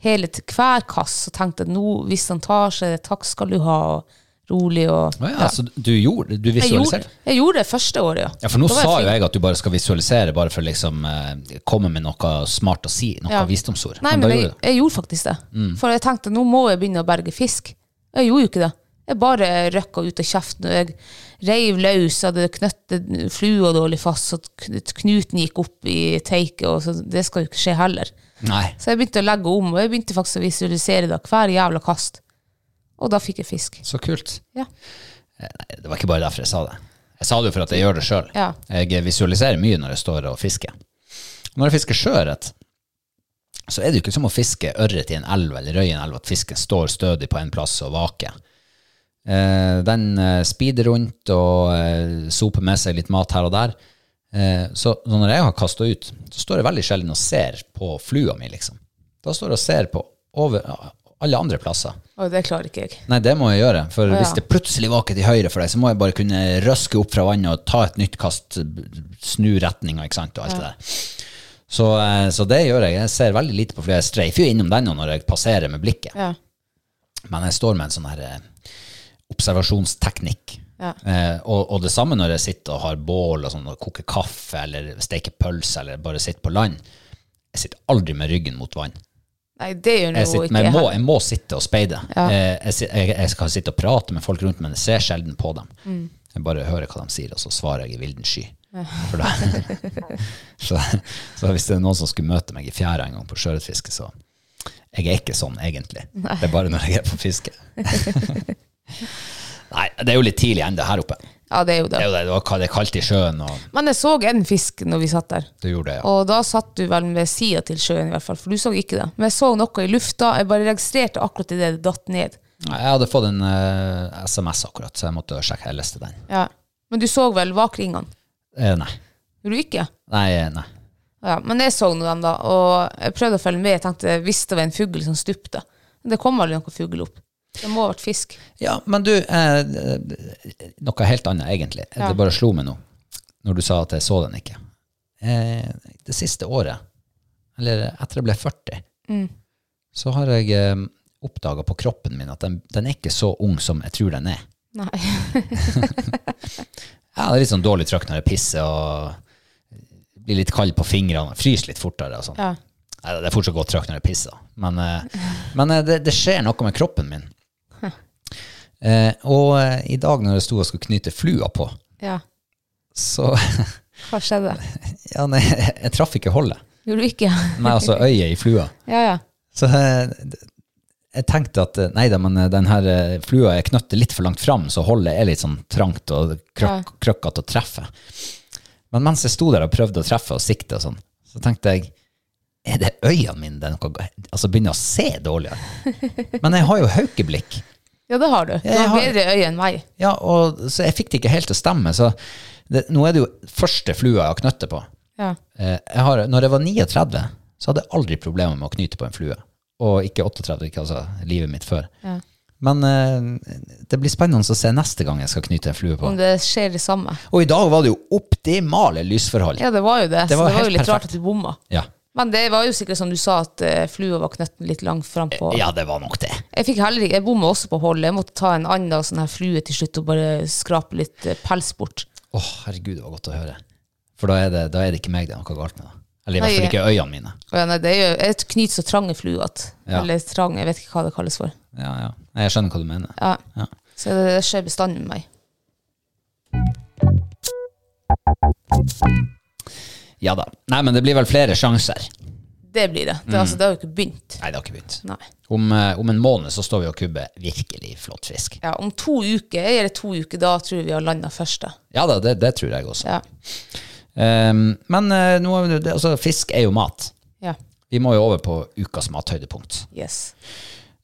Speaker 2: Hele til hver kass så tenkte jeg at nå, hvis han tar seg, takk skal du ha, og rolig og
Speaker 1: Å ja, Så du gjorde Du
Speaker 2: Jeg gjorde,
Speaker 1: visualiserte?
Speaker 2: jeg gjorde det første året, ja.
Speaker 1: Ja, for nå
Speaker 2: Da var
Speaker 1: sa jo
Speaker 2: flink.
Speaker 1: jeg at du bare skal visualisere, bare for liksom eh, komme med noe smart å si, noe
Speaker 2: Ja.
Speaker 1: visdomsord.
Speaker 2: Nei,
Speaker 1: Men
Speaker 2: men
Speaker 1: da
Speaker 2: jeg,
Speaker 1: gjorde du det. Mm.
Speaker 2: jeg gjorde faktisk det. For jeg tenkte nå må jeg begynne å berge fisk. Jeg gjorde jo ikke det. Jeg bare røkka ut av kjeften, og jeg reiv løs, hadde knøttet flua dårlig fast, så kn- knuten gikk opp i teiket, og så det skal jo ikke skje heller.
Speaker 1: Nei.
Speaker 2: Så jeg begynte å legge om, og jeg begynte faktisk å visualisere det hver jævla kast. Og da fikk jeg fisk.
Speaker 1: Så kult. Eh,
Speaker 2: Ja.
Speaker 1: Nei, det var ikke bare derfor jeg sa det. Jeg sa det jo for at jeg gjør det sjøl.
Speaker 2: Ja.
Speaker 1: Jeg visualiserer mye når jeg står og fisker. Og når jeg fisker sjøørret, så er det jo ikke som å fiske ørret i en elv eller røy i en elv, at fisken står stødig på en plass og vaker. Eh, den eh, speeder rundt og eh, soper med seg litt mat her og der. Eh, så, så når jeg har kasta ut, så står jeg veldig sjelden og ser på flua mi, liksom. Da står jeg og ser på over alle andre plasser.
Speaker 2: Og det klarer ikke jeg.
Speaker 1: Nei, det må jeg gjøre. For
Speaker 2: ja.
Speaker 1: hvis det plutselig vaker til høyre for deg, så må jeg bare kunne røske opp fra vannet og ta et nytt kast, snu retninga, ikke sant, og alt det der. Så, eh, så det gjør jeg. Jeg ser veldig lite på flere. Jeg streifer jo innom den nå når jeg passerer med blikket.
Speaker 2: Ja.
Speaker 1: Men jeg står med en sånn her eh, observasjonsteknikk.
Speaker 2: Ja.
Speaker 1: Eh, og, og det samme når jeg sitter og har bål og sånn, og koker kaffe eller steker pølse eller bare sitter på land. Jeg sitter aldri med ryggen mot vann.
Speaker 2: Nei, det gjør nå
Speaker 1: Jeg,
Speaker 2: ikke
Speaker 1: sitter, men jeg,
Speaker 2: jeg
Speaker 1: må,
Speaker 2: heller.
Speaker 1: jeg må sitte og speide. Eh, Jeg, si- jeg, jeg skal sitte og prate med folk rundt, men jeg ser sjelden på dem.
Speaker 2: Mm.
Speaker 1: Jeg bare hører hva de sier, og så svarer jeg i vilden sky. For da, så, så hvis det er noen som skulle møte meg i fjæra en gang på sjøørretfiske, så jeg er ikke sånn egentlig. Det er bare når jeg er på fiske. Nei, det er jo litt tidlig ennå her oppe.
Speaker 2: Ja, det er jo det.
Speaker 1: Det er jo det, det var ka- det er kaldt i sjøen, og
Speaker 2: Men jeg så en fisk når vi satt der.
Speaker 1: du gjorde det, ja.
Speaker 2: Og da satt du vel ved sida til sjøen, i hvert fall, for du så ikke det. Men jeg så noe i lufta, jeg bare registrerte akkurat idet det datt ned.
Speaker 1: Jeg hadde fått en eh, SMS akkurat, så jeg måtte sjekke. Jeg leste den.
Speaker 2: Men du så vel vakringene?
Speaker 1: Eh, nei.
Speaker 2: Gjorde du ikke?
Speaker 1: Nei, eh, nei.
Speaker 2: Ja, men jeg så nå dem, da, og jeg prøvde å følge med. Jeg tenkte hvis det var en fugl som stupte. Men det kom aldri noen fugl opp. Det må ha vært fisk.
Speaker 1: Ja, men du, eh, noe helt annet egentlig.
Speaker 2: Ja.
Speaker 1: Det bare slo meg nå, når du sa at jeg så den ikke. Eh, det siste året, eller etter jeg ble 40, så har jeg eh, oppdaga på kroppen min at den, den er ikke så ung som jeg tror den er.
Speaker 2: Nei.
Speaker 1: Jeg har litt sånn dårlig trøkk når jeg pisser og blir litt kald på fingrene, fryser litt fortere og sånn.
Speaker 2: Ja.
Speaker 1: Nei, det er fortsatt godt trøkk når jeg pisser. Men, eh, men eh, det, det skjer noe med kroppen min. Eh, og eh, i dag når jeg sto og skulle knyte flua på,
Speaker 2: ja.
Speaker 1: så
Speaker 2: Hva skjedde?
Speaker 1: ja, nei, jeg traff ikke holdet. altså
Speaker 2: Gjorde du ikke?
Speaker 1: Nei, altså øyet i flua.
Speaker 2: Ja, ja.
Speaker 1: Så eh, det- jeg tenkte at eh, nei da, men eh, den her eh, flua er knøttet litt for langt fram, så holdet er litt sånn trangt og
Speaker 2: Ja.
Speaker 1: krøk, krøkkete å treffe. Men mens jeg sto der og prøvde å treffe og sikte og sånn, så tenkte jeg er det øynene mine den kan gå- altså begynner å se dårligere? Men jeg har jo haukeblikk.
Speaker 2: Ja, det har du. Du
Speaker 1: Jeg
Speaker 2: har
Speaker 1: har-
Speaker 2: bedre øye enn meg.
Speaker 1: Ja, og, så jeg fikk det ikke helt til å stemme. Så det, nå er det jo første flua jeg har knøttet på.
Speaker 2: Ja.
Speaker 1: Eh, jeg har, når jeg var 39, så hadde jeg aldri problemer med å knyte på en flue. Og ikke 38, ikke altså livet mitt før.
Speaker 2: Ja.
Speaker 1: Men eh, det blir spennende å se neste gang jeg skal knyte en flue på.
Speaker 2: Om det skjer det samme.
Speaker 1: Og i dag var det jo optimale lysforhold.
Speaker 2: Ja, det var jo det.
Speaker 1: Det var
Speaker 2: så det var
Speaker 1: helt
Speaker 2: jo litt rart
Speaker 1: perfekt.
Speaker 2: at du bomma.
Speaker 1: Ja.
Speaker 2: Men det var jo sikkert som du sa, at eh, flua var knøtten litt langt frampå.
Speaker 1: Eh, ja, det var nok det.
Speaker 2: Jeg fikk heller ikke, jeg bomma også på holdet. Jeg måtte ta en annen sånn her flue til slutt og bare skrape litt eh, pels bort.
Speaker 1: Å, herregud, det var godt å høre. For da er det, da er det ikke meg det er noe galt med. Da. Eller i hvert
Speaker 2: Nei,
Speaker 1: fall ikke øynene mine.
Speaker 2: Og ja, nei, det er jo, jeg knyter så trange fluer at
Speaker 1: Ja.
Speaker 2: Eller trang, jeg vet ikke hva det kalles for.
Speaker 1: Ja, ja. Nei, Jeg skjønner hva du mener.
Speaker 2: Ja.
Speaker 1: Ja.
Speaker 2: Så det, det skjer bestandig med meg.
Speaker 1: Ja da. Nei, men det blir vel flere sjanser.
Speaker 2: Det blir det. Det,
Speaker 1: Mm.
Speaker 2: altså, det har jo ikke begynt.
Speaker 1: Nei, det har ikke begynt.
Speaker 2: Nei.
Speaker 1: Om, eh, om en måned så står vi og kubber virkelig flott fisk.
Speaker 2: Ja, om to uker, jeg gir det to uker, da tror jeg vi har landa første.
Speaker 1: Ja da, det, det tror jeg også.
Speaker 2: Ja.
Speaker 1: Ehm, men eh, nå, er vi- det- altså, fisk er jo mat.
Speaker 2: ja.
Speaker 1: Vi må jo over på ukas mathøydepunkt.
Speaker 2: Yes.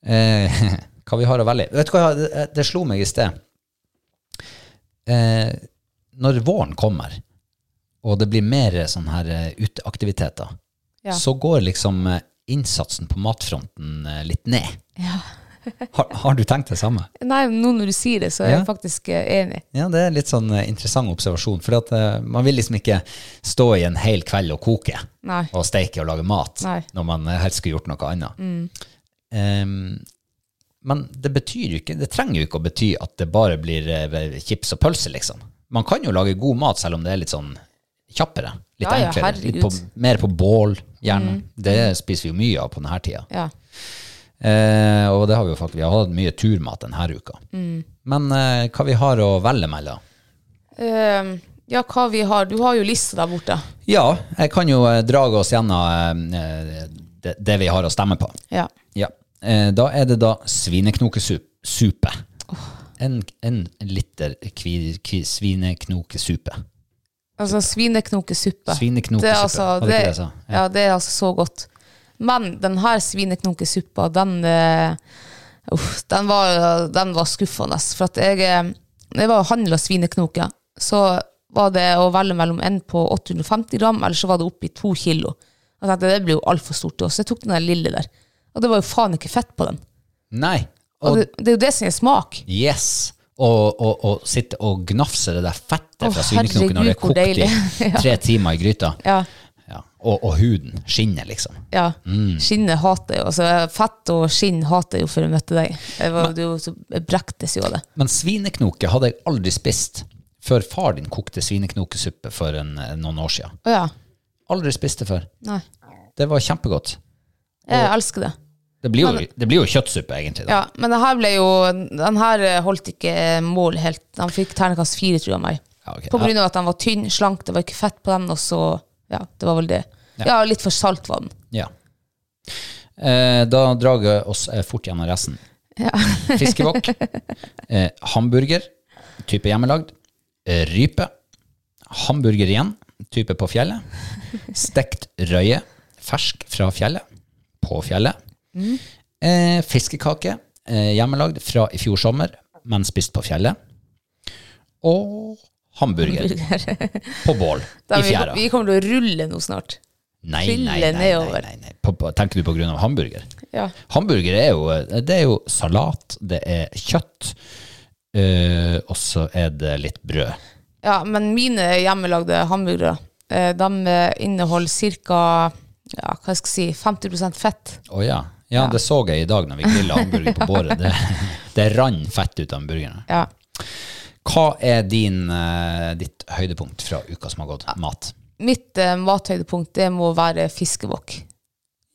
Speaker 1: Eh, hva vi har å velge i. Vet du hva, det, det slo meg i sted. Eh, når våren kommer, og det blir mer sånn her eh, uteaktiviteter,
Speaker 2: Ja.
Speaker 1: så går liksom eh, innsatsen på matfronten eh, litt ned. har, har du tenkt det samme?
Speaker 2: Nei, nå når du sier det, så er
Speaker 1: Ja.
Speaker 2: jeg faktisk eh, enig.
Speaker 1: Ja, det er litt sånn eh, interessant observasjon. For at, eh, man vil liksom ikke stå i en hel kveld og koke
Speaker 2: Nei.
Speaker 1: og steike og lage mat
Speaker 2: Nei. Mm.
Speaker 1: når man eh, helst skulle gjort noe annet. Ehm, men det betyr jo ikke, det trenger jo ikke å bety at det bare blir eh, chips og pølse, liksom. Man kan jo lage god mat selv om det er litt sånn kjappere. Litt
Speaker 2: Ja, ja,
Speaker 1: enklere. Litt på,
Speaker 2: herregud. Mm.
Speaker 1: mer på bål, gjerne. Det spiser vi jo mye av på denne tida.
Speaker 2: Ja.
Speaker 1: Eh, og det har vi jo faktisk, vi har hatt mye turmat denne uka.
Speaker 2: Mm.
Speaker 1: Men eh, hva vi har å velge mellom?
Speaker 2: Ehm, ja, hva vi har Du har jo lista der borte.
Speaker 1: Ja, jeg kan jo eh, drage oss gjennom eh, det, det vi har å stemme på.
Speaker 2: Ja.
Speaker 1: Ja. Eh, Da er det da svineknokesuppe. En, en liter kvi, kvi, svineknokesuppe.
Speaker 2: Altså svineknokesuppe.
Speaker 1: Svineknokesuppe,
Speaker 2: Det er altså,
Speaker 1: var det
Speaker 2: det,
Speaker 1: ikke det jeg sa? Ja.
Speaker 2: ja. det er altså så godt. Men den her svineknokesuppa, den eh, uff, den var, den var skuffende. For at jeg eh, Når jeg var og handla svineknoker, så var det å velge mellom en på 850 gram, eller så var det oppi to kilo. Jeg tenkte det blir jo altfor stort til oss. Jeg tok den der lille der. Og det var jo faen ikke fett på den.
Speaker 1: Nei.
Speaker 2: Og
Speaker 1: Og,
Speaker 2: det, det er jo det som gir smak.
Speaker 1: yes. Og, og, og sitte og gnafse det der fettet
Speaker 2: Å,
Speaker 1: fra svineknoken når det er
Speaker 2: herregud, hvor
Speaker 1: kokt i
Speaker 2: deilig. Ja.
Speaker 1: tre timer i gryta.
Speaker 2: Ja.
Speaker 1: Ja. Og, og huden. Skinnet, liksom.
Speaker 2: Ja. Skinnet hater jo. Altså, fett og skinn hater jeg jo før jeg møtte deg. Jeg, var, du, så- jeg brektes jo av det.
Speaker 1: Men svineknoke hadde jeg aldri spist før far din kokte svineknokesuppe for en, noen år siden.
Speaker 2: Å ja.
Speaker 1: Aldri spist det før.
Speaker 2: Nei.
Speaker 1: Det var kjempegodt.
Speaker 2: Jeg elsker det.
Speaker 1: Det blir jo, det blir jo kjøttsuppe, egentlig. Da.
Speaker 2: Ja, men det her ble jo Den her eh, holdt ikke mål helt. Den fikk terningkast fire, tror jeg meg.
Speaker 1: Ja, ok.
Speaker 2: På grunn av at den var tynn, slank, det var ikke fett på den, og så Ja, det var vel det. Ja, litt for salt var den.
Speaker 1: Ja. Eh, da drar jeg oss eh, fort gjennom resten. Fiskevokk, eh, hamburger, type hjemmelagd, eh, rype, hamburger igjen, type på fjellet, stekt røye, fersk fra fjellet, på fjellet,
Speaker 2: Mm.
Speaker 1: eh, fiskekake, eh, hjemmelagd fra i fjor sommer, men spist på fjellet, og hamburger, på bål
Speaker 2: Da,
Speaker 1: i
Speaker 2: vi,
Speaker 1: fjæra.
Speaker 2: vi kommer til å rulle nå snart.
Speaker 1: Nei,
Speaker 2: Fylle
Speaker 1: nei, nei, nei,
Speaker 2: nedover.
Speaker 1: nei, nei. På, på, tenker du på grunn av hamburger?
Speaker 2: Ja.
Speaker 1: Hamburger er jo, det er jo salat, det er kjøtt, eh, og så er det litt brød.
Speaker 2: ja men mine hjemmelagde hamburgere, eh, de eh, inneholder ca. Ja, hva skal jeg si 50 fett.
Speaker 1: Å ja. ja, det så jeg i dag når vi grilla hamburger på båret. Det, det rann fett ut av hamburgerne.
Speaker 2: Ja.
Speaker 1: Hva er din, eh, ditt høydepunkt fra uka som har gått? Mat.
Speaker 2: mitt eh, mathøydepunkt det må være fiskebokk.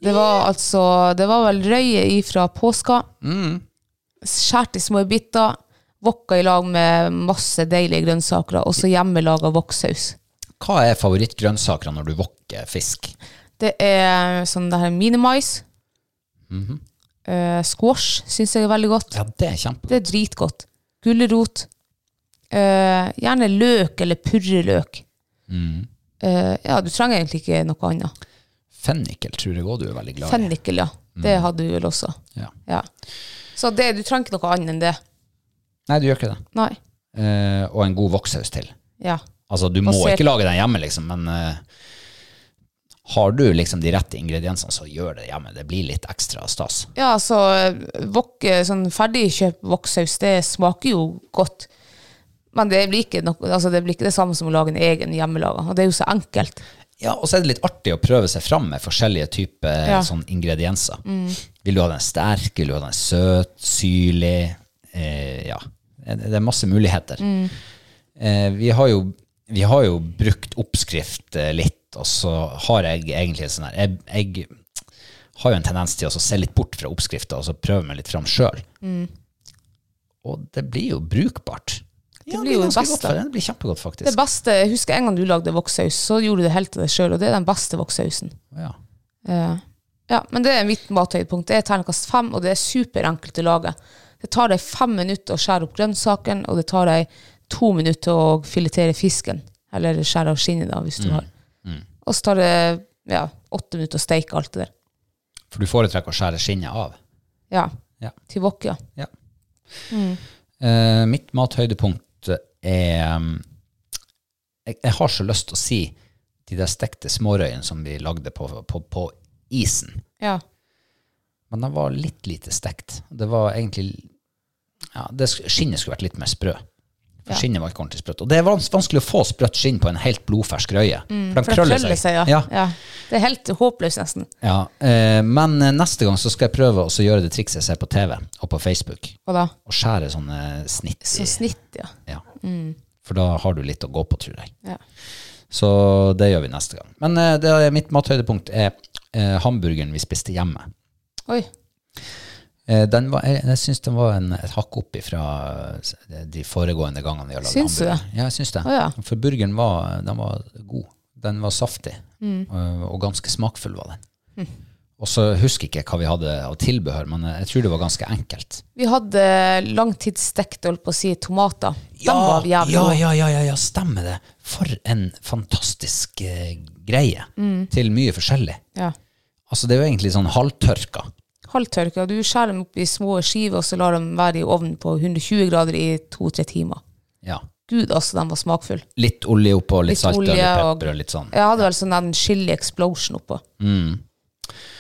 Speaker 2: Det var altså Det var vel røye ifra påska. Skåret i små biter. Wokka i lag med masse deilige grønnsaker, og så hjemmelaga woksaus.
Speaker 1: Hva er favorittgrønnsakene når du wokker fisk?
Speaker 2: Det er sånn det her minimais. Eh, squash syns jeg er veldig godt.
Speaker 1: Ja, det er kjempe.
Speaker 2: Det er dritgodt. Gulrot. Eh, gjerne løk eller purreløk. Eh, ja, du trenger egentlig ikke noe annet.
Speaker 1: Fennikel tror jeg òg du er veldig glad i.
Speaker 2: Fennikel, ja. Mm. Det hadde du vel også.
Speaker 1: Ja.
Speaker 2: Ja. Så det, du trenger ikke noe annet enn det.
Speaker 1: Nei, du gjør ikke det.
Speaker 2: Nei.
Speaker 1: Eh, og en god vokssaus til.
Speaker 2: Ja.
Speaker 1: Altså, du må
Speaker 2: Basert-
Speaker 1: ikke lage den hjemme, liksom, men eh, har du liksom de rette ingrediensene, så gjør det hjemme. Det blir litt ekstra stas.
Speaker 2: Ja, altså, vok, sånn ferdigkjøpt vokssaus, det smaker jo godt. Men det blir, ikke noe, altså det blir ikke det samme som å lage en egen hjemmelaga. Og det er jo så enkelt.
Speaker 1: Ja, og så er det litt artig å prøve seg fram med forskjellige typer
Speaker 2: Ja. Mm.
Speaker 1: sånn ingredienser. Vil du ha den sterk, vil du ha den søt, syrlig? Eh, ja, det det er masse muligheter.
Speaker 2: Mm.
Speaker 1: Eh, vi, har jo, vi har jo brukt oppskrift eh, litt, og så har jeg egentlig sånn her, jeg, jeg har jo en tendens til å så se litt bort fra oppskrifter, og så prøve meg litt fram selv.
Speaker 2: Mm.
Speaker 1: Og det blir jo brukbart. Ja,
Speaker 2: blir jo
Speaker 1: ganske
Speaker 2: best,
Speaker 1: godt
Speaker 2: da.
Speaker 1: for- Det blir kjempegodt, faktisk.
Speaker 2: Det beste, jeg husker en gang du lagde vokssaus, så gjorde du det helt til deg sjøl, og det er den beste vokssausen.
Speaker 1: ja.
Speaker 2: Eh, ja, men det er mitt mathøydepunkt. Det er terningkast fem, og det er superenkelt å lage. Det tar deg fem minutter å skjære opp grønnsaken, og det tar deg to minutter å filetere fisken. Eller skjære av skinnet, da,
Speaker 1: Mm.
Speaker 2: hvis du har. Og så tar det ja, åtte minutter å steike alt det der.
Speaker 1: For du foretrekker å skjære skinnet av.
Speaker 2: Ja.
Speaker 1: Ja.
Speaker 2: Til wok, ja.
Speaker 1: Ja. Eh, mitt mathøydepunkt er um, jeg, jeg har så lyst til å si de der stekte smårøyene som vi lagde på, på, på isen.
Speaker 2: ja.
Speaker 1: Men de var litt lite stekt. Det var egentlig ja, det, sk- Skinnet skulle vært litt mer sprø. For
Speaker 2: Ja.
Speaker 1: Skinnet var ikke ordentlig sprøtt. Og det er vans vanskelig å få sprøtt skinn på en helt blodfersk røye. for de
Speaker 2: Mm, For det
Speaker 1: krøller
Speaker 2: krøller
Speaker 1: seg.
Speaker 2: seg, ja.
Speaker 1: Ja.
Speaker 2: ja. Det er helt håpløst, nesten.
Speaker 1: Ja, eh, men eh, neste gang så skal jeg prøve å så gjøre det trikset jeg ser på TV og på Facebook.
Speaker 2: Hva da?
Speaker 1: Å skjære sånne snitt i
Speaker 2: Så snitt, ja.
Speaker 1: Ja.
Speaker 2: Mm.
Speaker 1: For da har du litt å gå på, tror jeg.
Speaker 2: ja.
Speaker 1: Så det gjør vi neste gang. Men eh, det er mitt mathøydepunkt er eh, hamburgeren vi spiste hjemme.
Speaker 2: Oi.
Speaker 1: Eh, den var, jeg jeg syns den var en, et hakk opp fra de foregående gangene vi har lagd
Speaker 2: Syns du
Speaker 1: hamburger. Ja, jeg syns det.
Speaker 2: Å, ja.
Speaker 1: For burgeren var, den var god. Den var saftig,
Speaker 2: Mm.
Speaker 1: eh, og ganske smakfull var den.
Speaker 2: Hm.
Speaker 1: Og så husker jeg ikke hva vi hadde av tilbehør, men jeg tror det var ganske enkelt.
Speaker 2: Vi hadde langtidsstekt, holdt på å si, tomater. De
Speaker 1: Ja,
Speaker 2: var
Speaker 1: ja,
Speaker 2: jævlig
Speaker 1: ja,
Speaker 2: gode.
Speaker 1: ja, ja, ja, stemmer det. For en fantastisk eh, greie
Speaker 2: Mm.
Speaker 1: til mye forskjellig.
Speaker 2: Ja.
Speaker 1: Altså, det er jo egentlig sånn halvtørka.
Speaker 2: halvtørka. Du skjærer dem opp i små skiver, og så lar dem være i ovnen på 120 grader i to-tre timer.
Speaker 1: Ja.
Speaker 2: Gud, altså, den var smakfull.
Speaker 1: Litt olje oppå, litt,
Speaker 2: Litt
Speaker 1: salt og litt
Speaker 2: olje og-
Speaker 1: pepper og litt sånn.
Speaker 2: Jeg hadde vel sånn den chili explosion oppå.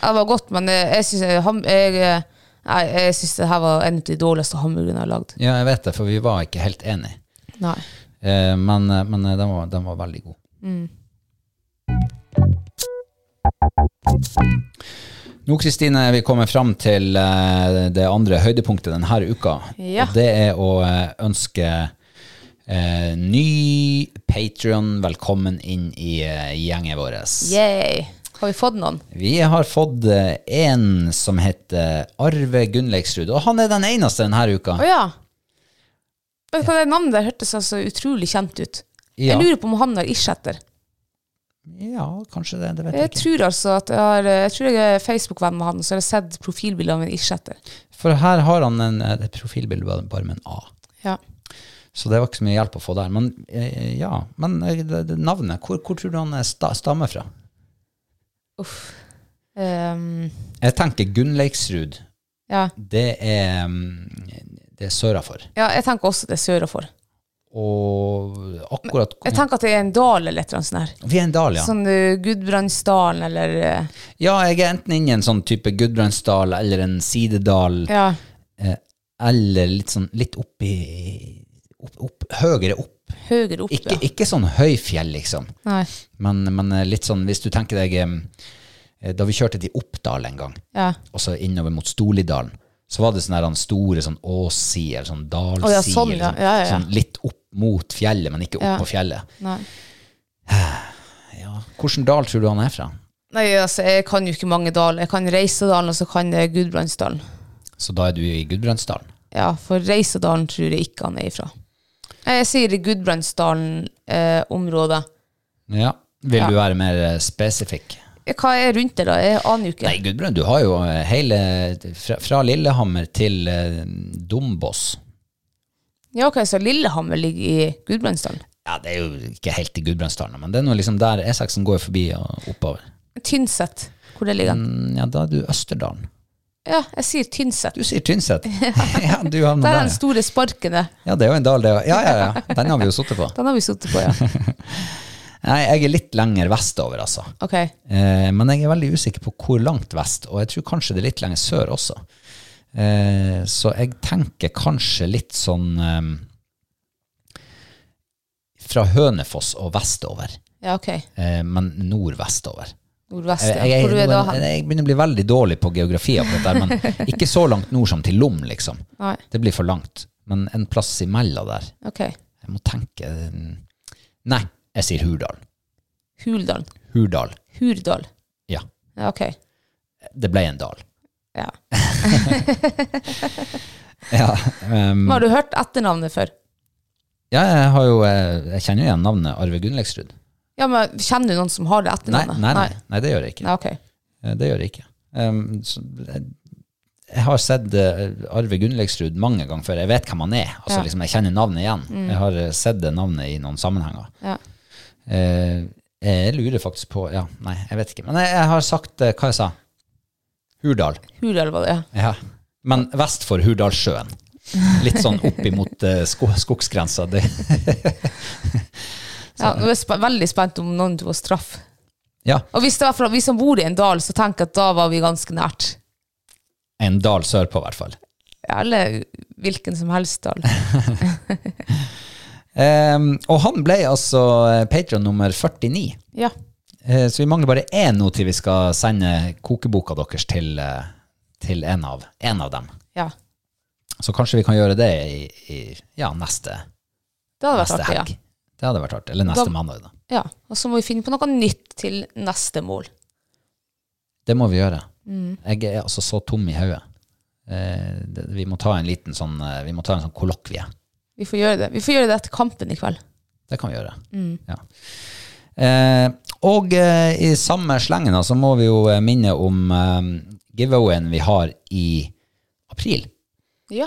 Speaker 2: Ja, Det var godt, men eh, jeg syns jeg, ham- jeg, eh, nei, jeg synes det her var en av de dårligste hamburgerne jeg har lagd.
Speaker 1: Ja, jeg vet det, for vi var ikke helt enige.
Speaker 2: Nei.
Speaker 1: Eh, men eh, men eh, den, var, den var veldig god.
Speaker 2: Mm.
Speaker 1: Nå, Kristine, er vi kommer fram til eh, det andre høydepunktet denne uka.
Speaker 2: Ja.
Speaker 1: Og det er å eh, ønske eh, ny Patrion velkommen inn i eh, gjengen vår.
Speaker 2: Yay. Har vi fått noen?
Speaker 1: Vi har fått eh, en som heter Arve Gunnleiksrud, og han er den eneste denne uka.
Speaker 2: Å ja. Vet du hva, Det navnet der hørtes altså utrolig kjent ut.
Speaker 1: Ja.
Speaker 2: Jeg lurer på om han har Isjetter.
Speaker 1: ja, kanskje det. Det vet jeg
Speaker 2: Jeg
Speaker 1: ikke.
Speaker 2: tror altså at jeg, har, jeg tror jeg er Facebook-venn med han, så jeg har sett profilbilder av en Isjetter.
Speaker 1: For her har han en, et profilbilde bare- bare med en A.
Speaker 2: Ja.
Speaker 1: Så det var ikke så mye hjelp å få der. Men eh, ja, men eh, det, det, navnet, hvor, hvor tror du han eh, sta, stammer fra?
Speaker 2: Uff. Ehm,
Speaker 1: Jeg tenker Gunnleiksrud.
Speaker 2: ja.
Speaker 1: Det er, mm, det er sørafor.
Speaker 2: ja, jeg tenker også det er sørafor.
Speaker 1: Og akkurat
Speaker 2: Jeg tenker at det er en dal eller et eller annet sånt her.
Speaker 1: Vi er en dal, ja.
Speaker 2: Sånn eh, Gudbrandsdalen eller eh,
Speaker 1: Ja, jeg er enten inne i en sånn type Gudbrandsdal eller en sidedal.
Speaker 2: Ja.
Speaker 1: Eh, eller litt sånn litt oppi opp, opp, Høyere opp.
Speaker 2: Høyere opp,
Speaker 1: Ikke,
Speaker 2: ja.
Speaker 1: ikke sånn høyfjell, liksom.
Speaker 2: Nei.
Speaker 1: Men, men eh, litt sånn, hvis du tenker deg eh, Da vi kjørte til Oppdal en gang,
Speaker 2: Ja.
Speaker 1: og så innover mot Storlidalen, så var det sånne her, han store sånn åssider, sånn dalsider,
Speaker 2: Å ja, sånn,
Speaker 1: sånn,
Speaker 2: ja. Ja, ja, ja.
Speaker 1: sånn litt opp mot fjellet, men ikke opp
Speaker 2: Ja.
Speaker 1: på fjellet.
Speaker 2: Nei.
Speaker 1: Ja. Hvilken dal tror du han er fra?
Speaker 2: Nei, altså, jeg kan jo ikke mange daler. Jeg kan Reisadalen, og så kan jeg Gudbrandsdalen.
Speaker 1: Så da er du i Gudbrandsdalen?
Speaker 2: Ja, for Reisadalen tror jeg ikke han er ifra. Nei, Jeg sier eh, Gudbrandsdalen-området.
Speaker 1: Ja. Vil
Speaker 2: Ja.
Speaker 1: du være mer eh, spesifikk?
Speaker 2: Hva er rundt det, da? Jeg aner jo ikke.
Speaker 1: Nei, Gudbrand, du har jo eh, hele Fra, fra Lillehammer til eh, Dombås.
Speaker 2: Ja, ok, så Lillehammer ligger i Gudbrandsdalen.
Speaker 1: Ja, det er jo ikke helt i Gudbrandsdalen, men det er nå liksom der E6-en går forbi og oppover.
Speaker 2: Tynset. Hvor det ligger den?
Speaker 1: Mm, Ja, da er du Østerdalen.
Speaker 2: Ja, jeg sier Tynset.
Speaker 1: Du sier Tynset. ja, du havner
Speaker 2: Der er
Speaker 1: der.
Speaker 2: den
Speaker 1: ja.
Speaker 2: store sparken, det.
Speaker 1: Ja, det er jo en dal, det òg. Ja, ja, ja. Den har vi jo sittet på.
Speaker 2: Den har vi sittet på, ja.
Speaker 1: Nei, jeg er litt lenger vestover, altså.
Speaker 2: Ok.
Speaker 1: Eh, men jeg er veldig usikker på hvor langt vest, og jeg tror kanskje det er litt lenger sør også. Eh, så jeg tenker kanskje litt sånn eh, fra Hønefoss og vestover,
Speaker 2: Ja, ok.
Speaker 1: eh, men nordvestover.
Speaker 2: Nordvest,
Speaker 1: Jeg,
Speaker 2: ja.
Speaker 1: jeg,
Speaker 2: Hvor du er
Speaker 1: jeg,
Speaker 2: da
Speaker 1: jeg,
Speaker 2: hen?
Speaker 1: jeg begynner å bli veldig dårlig på geografi, av dette, her, men ikke så langt nord som til Lom, liksom.
Speaker 2: Nei,
Speaker 1: Det blir for langt. Men en plass imellom der.
Speaker 2: ok.
Speaker 1: Jeg må tenke mm, Nei, jeg sier Hurdal.
Speaker 2: Huldalen.
Speaker 1: Hurdal.
Speaker 2: Hurdal.
Speaker 1: Ja.
Speaker 2: Ja, ok.
Speaker 1: Det ble en dal.
Speaker 2: Ja.
Speaker 1: Ja, um,
Speaker 2: Men har du hørt etternavnet før?
Speaker 1: ja jeg, har jo, eh, jeg kjenner jo igjen navnet Arve Gunnleksrud.
Speaker 2: Ja, men kjenner du noen som har det
Speaker 1: Nei,
Speaker 2: etternavnet?
Speaker 1: nei, nei, nei, det gjør jeg ikke.
Speaker 2: Nei, ok.
Speaker 1: Eh, Det gjør jeg ikke. Um, så, jeg, jeg har sett eh, Arve Gunnleksrud mange ganger før. Jeg vet hvem han er. Altså,
Speaker 2: Ja. Mm.
Speaker 1: liksom, jeg kjenner navnet igjen. Jeg har eh, sett det navnet i noen sammenhenger.
Speaker 2: Ja.
Speaker 1: Eh, jeg lurer faktisk på Ja, nei, jeg vet ikke. Men jeg, jeg har sagt eh, hva jeg sa. Hurdal.
Speaker 2: Hurdal var det, ja.
Speaker 1: Ja. Men vest for Hurdalssjøen. Litt sånn opp imot eh, sko skogsgrensa. Det,
Speaker 2: ja nå er jeg sp veldig spent om noen til oss traff.
Speaker 1: ja,
Speaker 2: Og hvis det var fra vi som bor i en dal, så tenk at da var vi ganske nært.
Speaker 1: en dal sørpå, i hvert fall.
Speaker 2: Ja, Eller hvilken som helst dal.
Speaker 1: Ehm, og han ble altså patron nummer 49.
Speaker 2: Ja.
Speaker 1: Eh, så vi mangler bare én nå til vi skal sende kokeboka deres til, eh, til en, av, en av dem.
Speaker 2: ja.
Speaker 1: Så kanskje vi kan gjøre det i, i ja, neste,
Speaker 2: Det hadde vært
Speaker 1: neste
Speaker 2: artig, ja.
Speaker 1: helg. Det hadde vært artig. Eller neste
Speaker 2: Da-
Speaker 1: mandag. da.
Speaker 2: ja. Og så må vi finne på noe nytt til neste mål.
Speaker 1: Det må vi gjøre.
Speaker 2: Mm.
Speaker 1: Jeg er altså så tom i hodet. Eh, det- vi må ta en liten sånn eh, Vi må ta en sånn kollokvie.
Speaker 2: Vi får gjøre det Vi får gjøre det etter kampen i kveld.
Speaker 1: Det kan vi gjøre.
Speaker 2: Mm.
Speaker 1: Ja. Eh, og eh, i samme slengen da, så må vi jo eh, minne om eh, giveawayen vi har i april.
Speaker 2: Ja.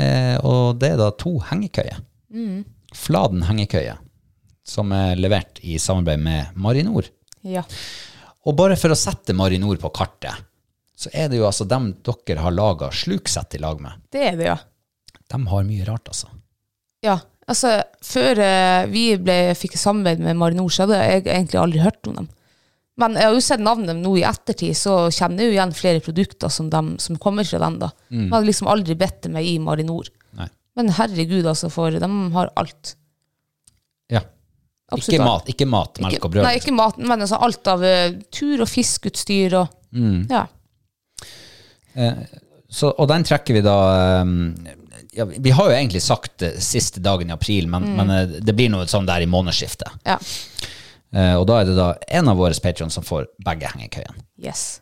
Speaker 1: Eh, og det er da to hengekøyer.
Speaker 2: Mm.
Speaker 1: Fladen hengekøye, som er levert i samarbeid med Marinor.
Speaker 2: Ja.
Speaker 1: Og bare for å sette Marinor på kartet, så er det jo altså dem dere har laga sluksett i lag med.
Speaker 2: Det er det, ja.
Speaker 1: De har mye rart, altså.
Speaker 2: Ja, altså før eh, vi ble, fikk samarbeid med Marinor, så hadde jeg egentlig aldri hørt om dem. Men jeg har jo sett navnet dem nå i ettertid, så kjenner jeg jo igjen flere produkter som, dem, som kommer fra dem da. Men jeg hadde liksom aldri bedt meg i Marinor.
Speaker 1: Mm. Nei.
Speaker 2: Men herregud altså, for de har alt.
Speaker 1: Ja. Ikke
Speaker 2: alt.
Speaker 1: mat, ikke mat, melk
Speaker 2: Ikke-
Speaker 1: og brød. liksom.
Speaker 2: Nei, ikke mat, men altså alt av eh, tur- og fiskeutstyr og,
Speaker 1: Mm.
Speaker 2: ja.
Speaker 1: Så, og den trekker vi da um, ja, Vi har jo egentlig sagt eh, siste dagen i april, men,
Speaker 2: Mm.
Speaker 1: men eh, det blir noe sånn der i månedsskiftet.
Speaker 2: ja.
Speaker 1: Eh, og da er det da en av våre patrons som får begge hengekøyene.
Speaker 2: Yes.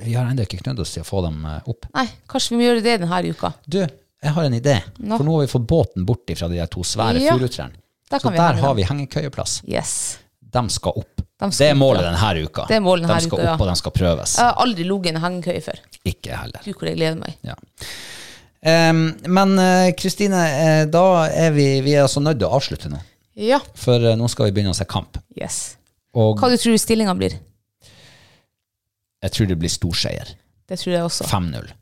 Speaker 1: Vi har ennå ikke knødd oss til å få dem eh, opp.
Speaker 2: Nei, kanskje vi må gjøre det denne uka.
Speaker 1: Du, jeg har en idé.
Speaker 2: Nå.
Speaker 1: For nå har vi fått båten bort fra de der to svære
Speaker 2: Ja,
Speaker 1: furutrærne.
Speaker 2: der
Speaker 1: Så
Speaker 2: kan vi
Speaker 1: der
Speaker 2: henge
Speaker 1: har
Speaker 2: dem.
Speaker 1: vi hengekøyeplass.
Speaker 2: Yes.
Speaker 1: De skal opp.
Speaker 2: De skal
Speaker 1: det er
Speaker 2: opp,
Speaker 1: målet
Speaker 2: ja.
Speaker 1: denne uka.
Speaker 2: Det er målet denne
Speaker 1: de skal
Speaker 2: uka, ja.
Speaker 1: opp, og de skal prøves.
Speaker 2: Jeg har aldri ligget i en hengekøye før.
Speaker 1: Ikke heller.
Speaker 2: Gud, hvor jeg gleder meg.
Speaker 1: Ja. Em, men eh, Kristine, eh, da er vi, vi er altså nødt til å avslutte nå.
Speaker 2: Ja.
Speaker 1: For eh, nå skal vi begynne å se kamp.
Speaker 2: Yes.
Speaker 1: Og
Speaker 2: Hva du tror stillinga blir?
Speaker 1: jeg tror det blir storseier.
Speaker 2: Det tror jeg også.
Speaker 1: 5-0.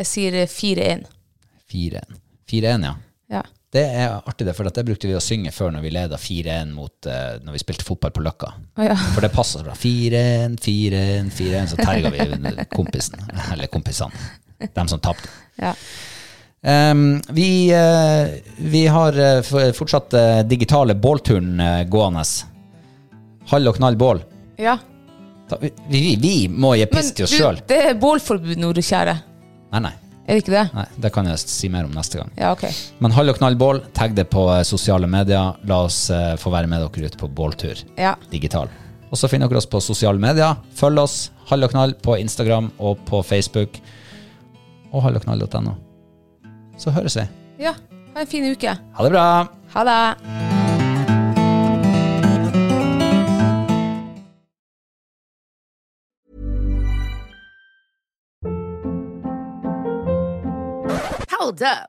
Speaker 2: Jeg sier eh, 4-1.
Speaker 1: 4-1. 4-1, ja.
Speaker 2: Ja.
Speaker 1: Det er artig, det, for at det brukte vi å synge før når vi leda 4-1 mot eh, når vi spilte fotball på Løkka.
Speaker 2: Å, ja.
Speaker 1: For det passer så bra. 4-1, 4-1, 4-1. Så terga vi kompisen, eller kompisene. Dem som tapte.
Speaker 2: Ja.
Speaker 1: Em, vi, eh, vi har eh, f- fortsatt eh, digitale bålturen eh, gående. Hall og knall bål.
Speaker 2: ja.
Speaker 1: Da- Vi, vi, vi må gi piss til oss sjøl.
Speaker 2: det er bålforbud nå, du kjære.
Speaker 1: Nei, nei,
Speaker 2: Er det ikke det?
Speaker 1: nei. Det kan jeg si mer om neste gang.
Speaker 2: Ja, ok.
Speaker 1: Men hall og knall bål, tagg det på eh, sosiale medier. La oss eh, få være med dere ut på båltur
Speaker 2: Ja.
Speaker 1: digital. Og så finner dere oss på sosiale medier. Følg oss, hall og knall, på Instagram og på Facebook. Og hallogknall.no. Så høres vi.
Speaker 2: ja. Ha en fin uke.
Speaker 1: Ha det bra!
Speaker 2: Ha det.
Speaker 3: Hold up.